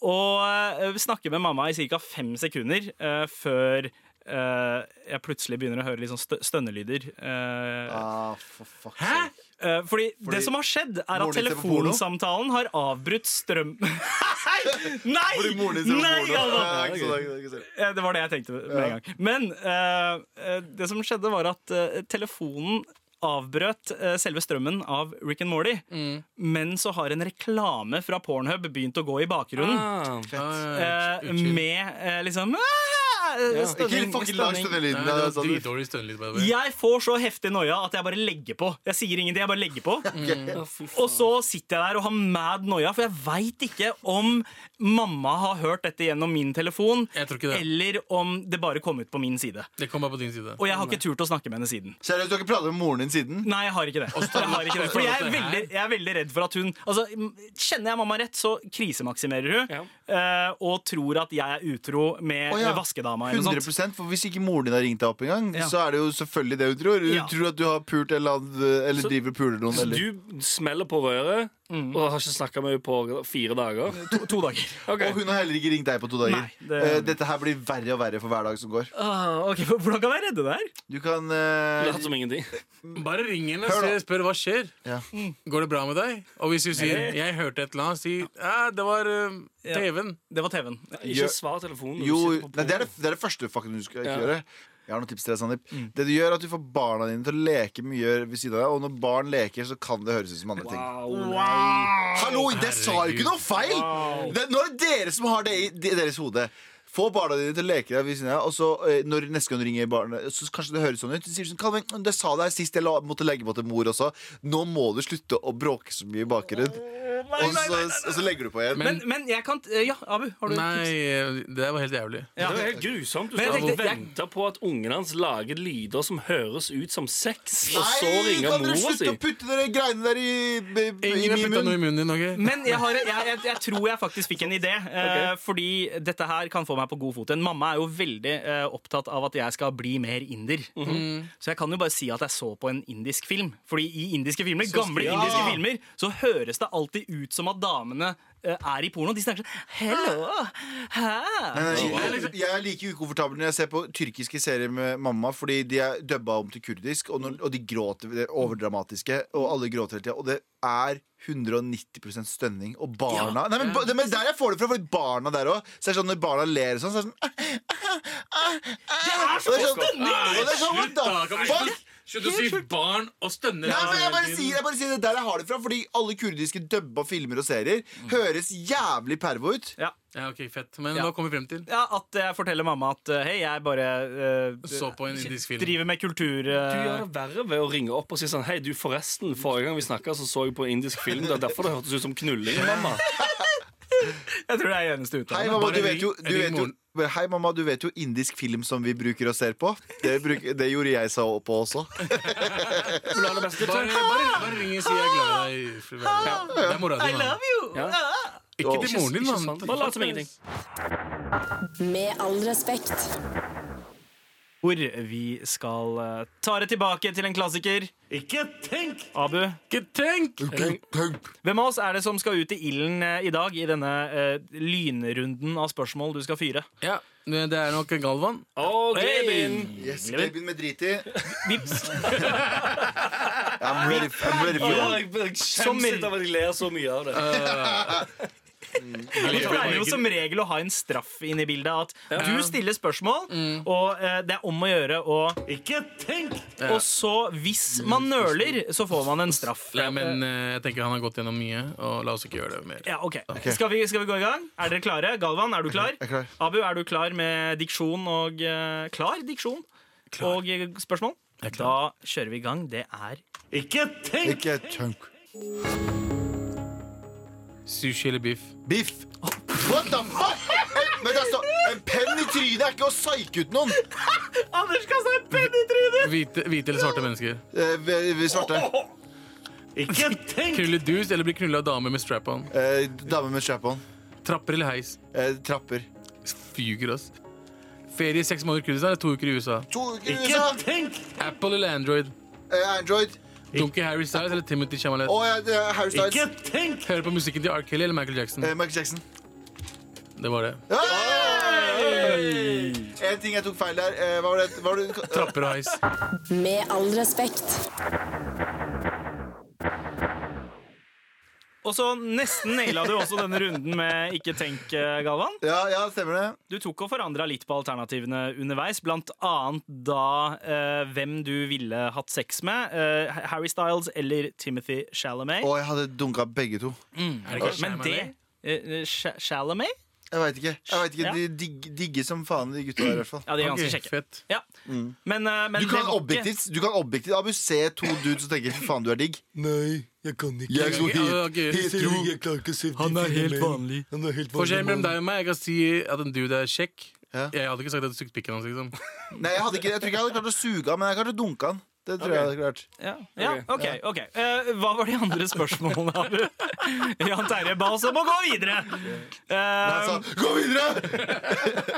S2: og eh, snakker med mamma i ca. fem sekunder eh, før eh, jeg plutselig begynner å høre litt sånn stø stønnelyder. Eh,
S1: ah, for fuck's
S3: Hæ?
S1: sake.
S2: Eh, fordi, det som har skjedd, er at
S1: moren din ser på porno?
S2: telefonsamtalen har avbrutt strøm... Nei!
S1: Fordi moren din ser på
S2: Nei,
S1: porno.
S2: Galvan!
S1: Ja, ikke sant, ikke sant, ikke sant.
S2: Eh, Det var det jeg tenkte med en gang. Men eh, eh, det som skjedde, var at eh, telefonen avbrøt eh, selve strømmen av Rick and Morty.
S3: Mm.
S2: Men så har en reklame fra Pornhub begynt å gå i bakgrunnen.
S4: ah,
S3: Ah,
S2: eh,
S3: unnskyld.
S2: med eh, liksom ah,
S1: Ikke
S2: stønning,
S1: fucking lag
S2: stønning.
S1: denne
S3: Nei,
S1: lyden
S3: det
S1: der,
S3: var
S1: sånn.
S3: dritdårlig stønnelyd. by the way.
S2: Jeg får så heftig noia at jeg bare legger på. Jeg sier ingenting, jeg bare legger på. Og så sitter jeg der og har mad noia, for jeg veit ikke om mamma har hørt dette gjennom min telefon,
S3: Jeg tror ikke det.
S2: eller om det bare kom ut på min side.
S3: Det kom bare på din side.
S2: Og jeg har ikke turt å snakke med henne siden.
S1: Seriøst, du har ikke pratet med moren din siden?
S2: Nei, jeg har ikke det. Jeg har ikke det. Fordi jeg er, veldig, jeg er veldig redd for at hun altså, m- Kjenner jeg mamma rett, så krisemaksimerer hun. eh, Og tror at jeg er utro med
S1: Å ja,
S2: vaskedama. Eller noe
S1: 100%
S2: sånt.
S1: For hvis ikke moren din har ringt deg opp engang,
S2: Ja.
S1: så er det jo selvfølgelig det hun tror. Hun
S2: Ja.
S1: tror at du har pult eller, annet- eller driver og puler noen.
S4: Så
S1: Eller.
S4: du smeller på røret og har ikke snakka med henne på fire dager.
S2: To, to dager.
S4: Ok.
S1: Og hun har heller ikke ringt deg på to dager.
S2: Nei, det-
S1: Eh, Dette her blir verre og verre for hver dag som går.
S2: Ah, ok, Hvordan kan jeg redde det her?
S1: Du kan eh,
S4: Lat som ingenting.
S3: Bare ring henne
S1: Hør
S3: og
S1: da.
S3: se- spør hva skjer.
S1: Ja.
S3: Går det bra med deg? Og hvis hun sier 'jeg hørte et eller annet', si «Ja, 'det var eh, øhm, TV-en'.
S2: Det var TV-en.
S4: Ikke svar telefonen. når
S1: Jo,
S4: du sitter på
S1: nei, det, er det,
S4: bordet.
S1: det er det første fucken du skal ikke
S4: Ja.
S1: gjøre. Jeg har noen tips til deg, Sandeep. Det du gjør er at du får barna dine til å leke mye ved siden av deg, og når barn leker, så kan det høres ut som andre ting.
S4: Wow,
S1: Hallo, det sa jo ikke noe feil! Det, nå er det dere som har det i de- deres hode. Få barna dine til å leke deg ved siden av, og så eh, når neste gang du ringer barnet, så kanskje det høres sånn ut. Så sier du sånn, Calvin, det sa deg sist jeg la, måtte legge på til mor også. Nå må du slutte å bråke så mye i bakgrunnen. Og så, og så legger du på igjen.
S2: Men, men jeg kan eh, Ja, Abu, har du et tips?
S3: Nei, det var helt jævlig.
S4: Det var helt grusomt. Du
S2: Men jeg
S4: satt og
S2: tenkte- jeg-
S4: venta på at ungen hans lager lyder som høres ut som sex, og så
S1: Nei,
S4: ringer
S1: kan dere
S4: mora
S1: slutte
S4: si.
S1: å putte dere greiene der i, i, i
S3: Ingen har
S1: min
S3: putta
S1: munn?
S3: noe i munnen din. ok?
S2: Men jeg, har, jeg, jeg, jeg tror jeg faktisk fikk en idé. eh, Fordi dette her kan få meg på god fot. igjen. Mamma er jo veldig eh, opptatt av at jeg skal bli mer inder.
S3: Mhm.
S2: Så jeg kan jo bare si at jeg så på en indisk film. Fordi i indiske filmer, gamle indiske filmer så høres det alltid ut som at damene eh, er i porno. De snakker sånn Hello! Hæ?
S1: Nei, jeg, liksom, jeg er like ukomfortabel når jeg ser på tyrkiske serier med mamma, fordi de er dubba om til kurdisk, og, når, og de gråter det er overdramatiske, og alle gråter hele tida. Og det er 190 stønning. Og barna Nei, men, ba- det, men der jeg får det fra, fordi barna der òg. Så er det "Ah, sånn, når barna ler og ah, sånn, så er det sånn Det er så stønning! What the sånn, fuck?
S3: Slutt å si barn og stønner.
S1: Nei, men jeg bare
S3: hele tiden.
S1: sier, jeg bare sier det der jeg har det fra, fordi alle kurdiske dubba filmer og serier høres jævlig pervo ut.
S2: Ja.
S3: Ja, ok, fett. Men
S2: Ja.
S3: hva kom vi frem til?
S2: ja, At jeg forteller mamma at eh, hei, jeg bare eh,
S3: Så på en indisk film.
S2: driver med kultur eh,
S4: Du gjør det verre ved å ringe opp og si sånn Hei, du, forresten, forrige gang vi snakka, så så jeg på indisk film. Det er derfor det hørtes ut som knulling, mamma.
S2: Jeg tror det er eneste uttale.
S1: Hei, mamma, du
S3: ring-
S1: vet jo, du
S3: ring
S1: vet jo
S3: moren.
S1: men Hei mamma, du vet jo indisk film som vi bruker og ser på? Det, bruk, det gjorde jeg så på også.
S4: Vil du ha det beste?
S3: Bare, bare, bare ring og si jeg er glad i deg. fru Werner. Det er mora di. mann.
S4: Ja.
S3: Ikke til moren din,
S4: Ikke
S3: mann.
S4: sant? Bare lat som ingenting.
S5: Med all respekt.
S2: Hvor vi skal eh, ta det tilbake til en klassiker.
S4: Ikke tenk!
S2: Abu,
S3: Ikke tenk!
S2: hvem av oss er det som skal ut i ilden eh, i dag i denne eh, lynrunden av spørsmål du skal fyre?
S3: Ja, det er nok Galvan.
S4: Og Glebin.
S1: Yes, babyen med drit i. I'm ready, I'm ready for it.
S4: Jeg skjemmes litt av at jeg ler så mye av det.
S2: Vi pleier jo som regel å ha en straff inn i bildet. At du stiller spørsmål,
S4: Mm.
S2: og eh, det er om å gjøre å
S4: Ikke tenk!
S2: Og så, hvis man nøler, så får man en straff.
S3: Nei, men eh, jeg tenker han har gått gjennom mye, og la oss ikke gjøre det mer.
S2: Ja, ok, Skal, vi, skal vi gå i gang? Er dere klare? Galvan, er du klar?
S1: er klar.
S2: Abu, er du klar med diksjon og eh, Klar diksjon og eh, spørsmål? Da kjører vi i gang. Det er
S4: Ikke tenk!
S1: Ikke chunk.
S3: Sushi eller biff?
S1: Biff. What the fuck? En, men det står En penn i trynet er ikke å psyke ut noen.
S2: Anders kasta en penn i trynet!
S3: Hvite, hvite eller svarte mennesker?
S1: Eh, vi- vi svarte.
S4: Ikke tenk!
S3: Knulle dus eller bli knulla av dame med strap-on?
S1: Eh, dame med strap-on.
S3: Trapper eller heis?
S1: Eh, trapper.
S3: Fyker oss. Ferie i seks måneder i Kurdistan eller to uker i USA?
S1: To uker i
S4: Ikke
S1: USA.
S4: tenk!
S3: Apple eller Android?
S1: Eh, Android.
S3: Donkey Harry Styles eller Timothy Chamalet?
S1: Og eh, Harry Styles.
S4: Ikke tenk!
S3: Høre på musikken til R. Kelly eller Michael Jackson?
S1: Eh, Michael Jackson.
S3: Det var det.
S1: Hey! En ting jeg tok feil der. Eh, hva var det? Hva var det?
S3: Trapper og heis.
S5: Med all respekt.
S2: Og så nesten naila du også denne runden med Ikke tenk, eh, Galvan.
S1: Ja, ja, stemmer det.
S2: Du tok og forandra litt på alternativene underveis, blant annet da eh, hvem du ville hatt sex med. eh, Harry Styles eller Timothy Chalamet.
S1: Og jeg hadde dunka begge to.
S3: Er det ikke
S2: Men det
S3: Chalamet?
S2: eh, eh, Ch- Chalamet?
S1: Jeg veit ikke. Jeg vet ikke.
S2: Ja.
S1: De digg, digger som faen, de gutta der. i hvert fall
S2: Ja, de er ganske
S3: Ok,
S2: kjekke.
S3: Fett.
S2: Ja. Men, eh, men
S1: Du kan
S2: det var ikke-
S1: objektivt Du kan objektivt Abu se to dudes og tenke 'faen, du er digg'.
S8: Nei, jeg kan ikke.
S1: Jeg er så
S3: Ja,
S1: hit.
S3: ok,
S8: Hetero, jeg klarer ikke å se
S3: Han er helt vanlig.
S8: Han er helt vanlig.
S3: Forskjellen mellom deg og meg, jeg kan si at en dude er kjekk.
S1: Ja.
S3: Jeg hadde ikke sagt at du sugde pikken hans, liksom.
S1: Nei, jeg, hadde ikke, jeg tror ikke jeg hadde klart å suge han, men jeg klarte å dunke han. Det tror jeg jeg hadde klart.
S2: Ja, ja ok. ok Eh, Hva var de andre spørsmålene, Abu? Jan Terje ba oss om å gå videre.
S1: Han
S2: Eh,
S1: sa 'gå videre'!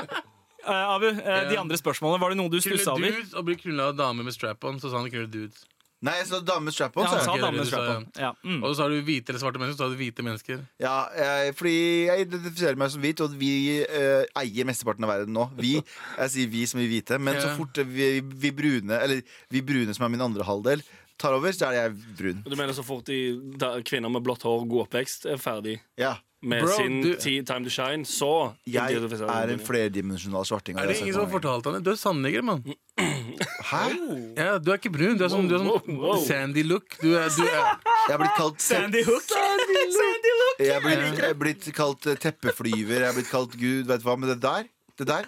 S2: eh, Abu, eh, de andre spørsmålene, var det noe du stussa
S3: Knulle
S2: over?
S3: dudes og bli knulla av dame med strap-on, så sa han knulle dudes.
S1: Nei, jeg sa dame med
S2: Ja,
S1: strap-on,
S2: han
S1: sa
S2: sa
S1: jeg.
S3: det er det
S2: damen
S3: du sa,
S2: strap-on. Ja. Mm.
S3: Og så sa du hvite eller svarte mennesker, så sa du hvite mennesker.
S1: Ja, jeg, fordi jeg identifiserer meg som hvit, og vi eh, eier mesteparten av verden nå. Vi, jeg sier vi som vi hvite, men så
S3: Ja.
S1: fort vi, vi brune, eller vi brune som er min andre halvdel, tar over, så er jeg brun.
S4: Du mener så fort de da, kvinner med blått hår og god oppvekst er ferdig
S1: Ja.
S4: med
S3: Bro,
S4: sin
S3: du-
S4: ti- time to shine, så
S1: Jeg
S4: identifiserer
S1: er
S4: du
S1: en
S4: deg.
S1: flerdimensjonal svarting. og
S3: Er det
S1: jeg
S3: ingen
S1: har
S3: som har
S1: sett
S3: fortalt han det? Du er sandnigger, mann.
S1: mange ganger.
S3: Ja, du er ikke brun. Du er sånn, du er
S4: Wow,
S3: sånn
S4: wow, wow.
S3: sandy look. Du er, du er,
S1: Hæ? Jeg er blitt kalt, te
S2: Sandy Hook. Sandy Hook.
S1: jeg er blitt, jeg er blitt kalt eh, teppeflyver, jeg er blitt kalt gud, vet du hva, men det der, det der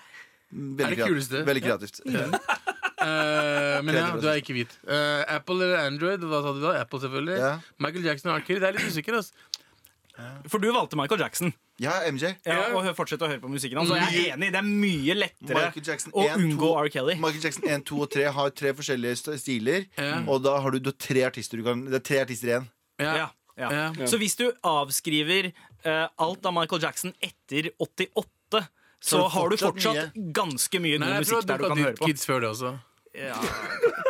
S1: mm, Veldig,
S3: Er det
S1: kreativt.
S3: kuleste?
S1: veldig kreativt.
S3: eh, men ja, du er ikke hvit. Eh, Apple eller Android? Hva sa du da? Apple, selvfølgelig.
S1: Ja.
S3: Michael Jackson og R. Kelly. Det er litt usikker, ass.
S2: For du valgte Michael Jackson.
S1: Ja, MJ.
S2: Ja, og hø- fortsette å høre på musikken hans. Og jeg er enig, det er mye lettere
S1: Michael Jackson
S2: å
S1: 1,
S2: unngå
S1: 2.
S2: R. Kelly.
S1: Michael Jackson 1, 2 og 3 har tre forskjellige st- stiler.
S3: Ja.
S1: Og da har du, du har tre artister du kan Det er tre artister igjen.
S2: Ja, ja.
S3: Ja.
S2: Så hvis du avskriver eh, alt av Michael Jackson etter 88 så
S1: Så
S2: har du
S1: fortsatt
S2: fortsatt ganske mye
S3: Nei,
S2: god
S3: jeg tror
S2: musikk
S3: at du
S2: der du
S3: kan
S2: kan høre på.
S3: kids før det også.
S2: Ja.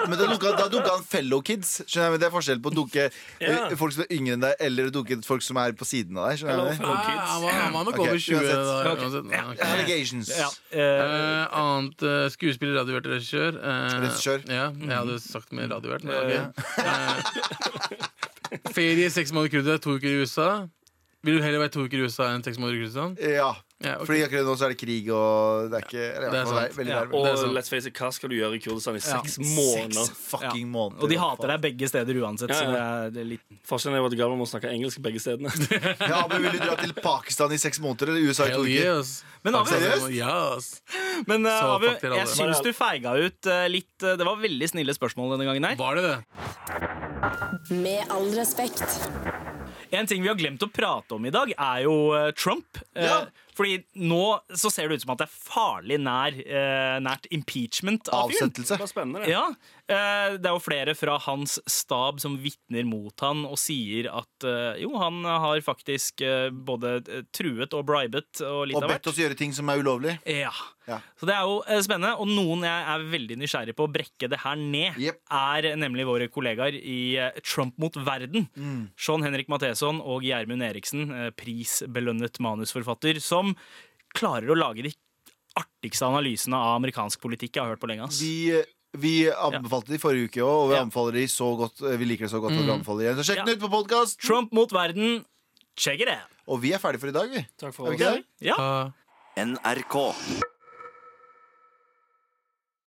S1: Men da dukka, da dukka han fellow kids. Skjønner jeg, men Det er forskjell på å dukke eh, folk som er yngre enn deg, eller å dukke folk som er på siden av deg. Skjønner jeg?
S4: Hello,
S3: Ah, han, var, han var nok
S1: Ok,
S3: over 20
S1: uansett.
S3: da.
S2: Ok.
S3: Uansett. Nei, ok.
S1: Allegations.
S2: Ja. eh,
S3: Eh, annet eh, skuespiller, radiohvert, regissør. Eh,
S1: Regissør.
S3: Ja, jeg hadde sagt med radiohvert. Men, ok. eh, ferie seks måneder i Kurdia, to uker i USA. Vil du heller være to uker i USA enn seks måneder i Kurdistan?
S1: Ja.
S3: Ja, ok.
S1: Fordi akkurat nå så er det krig, og det er ikke eller, i
S3: Det er
S1: hvert fall
S3: sant.
S1: vei- veldig
S2: Ja,
S1: nærme.
S4: Og
S3: Det er sant.
S4: let's face it, hva skal du gjøre i Kurdistan i seks
S1: Seks
S4: måneder?
S1: fucking måneder.
S2: Og de hater deg begge steder uansett.
S4: Ja, ja.
S2: Så det er, det er litt
S4: Forskjellen er jo at Galvan må snakke engelsk begge stedene.
S1: Ja, men Vil du dra til Pakistan i seks måneder eller USA i to
S3: Hell
S1: uker?
S3: yes.
S2: Men Abu,
S1: seriøst?
S3: Ja, ass.
S2: Men eh,
S3: Så
S2: Abu,
S3: fuck dere alle.
S2: jeg syns du feiga ut eh, litt. eh, Det var veldig snille spørsmål denne gangen her.
S3: Var det det?
S5: Med all respekt.
S2: En ting vi har glemt å prate om i dag, er jo eh, Trump. Eh,
S1: Ja.
S2: Fordi nå så ser det ut som at det er farlig nær, eh, nært impeachment av fyren.
S1: Avsettelse.
S4: Det var spennende. det.
S2: Ja, eh, Det er jo flere fra hans stab som vitner mot han og sier at eh, jo, han har faktisk eh, både eh, truet og bribet og litt
S1: Og
S2: av
S1: bedt
S2: hvert.
S1: oss gjøre ting som er ulovlig.
S2: Ja.
S1: Ja.
S2: Så det er jo eh, spennende. Og noen jeg er veldig nysgjerrig på å brekke det her ned,
S1: Jep.
S2: er nemlig våre kollegaer i eh, Trump mot verden.
S1: Mm.
S2: Sean Henrik Matheson og Gjermund Eriksen, eh, prisbelønnet manusforfatter, som klarer å lage de artigste analysene av amerikansk politikk jeg har hørt på lenge. ass.
S1: Vi, vi anbefalte det i forrige uke òg, og vi
S2: Ja.
S1: anbefaler det så godt. Vi liker det så godt. at Vi anbefaler det igjen Så sjekk
S2: Ja.
S1: den ut på podkast!
S2: Trump mot verden, check it out!
S1: Og vi er ferdige for i dag, vi.
S4: Takk
S1: Er
S4: for
S1: vi
S4: oss.
S1: ikke det?
S2: Ja.
S3: Ah.
S7: NRK.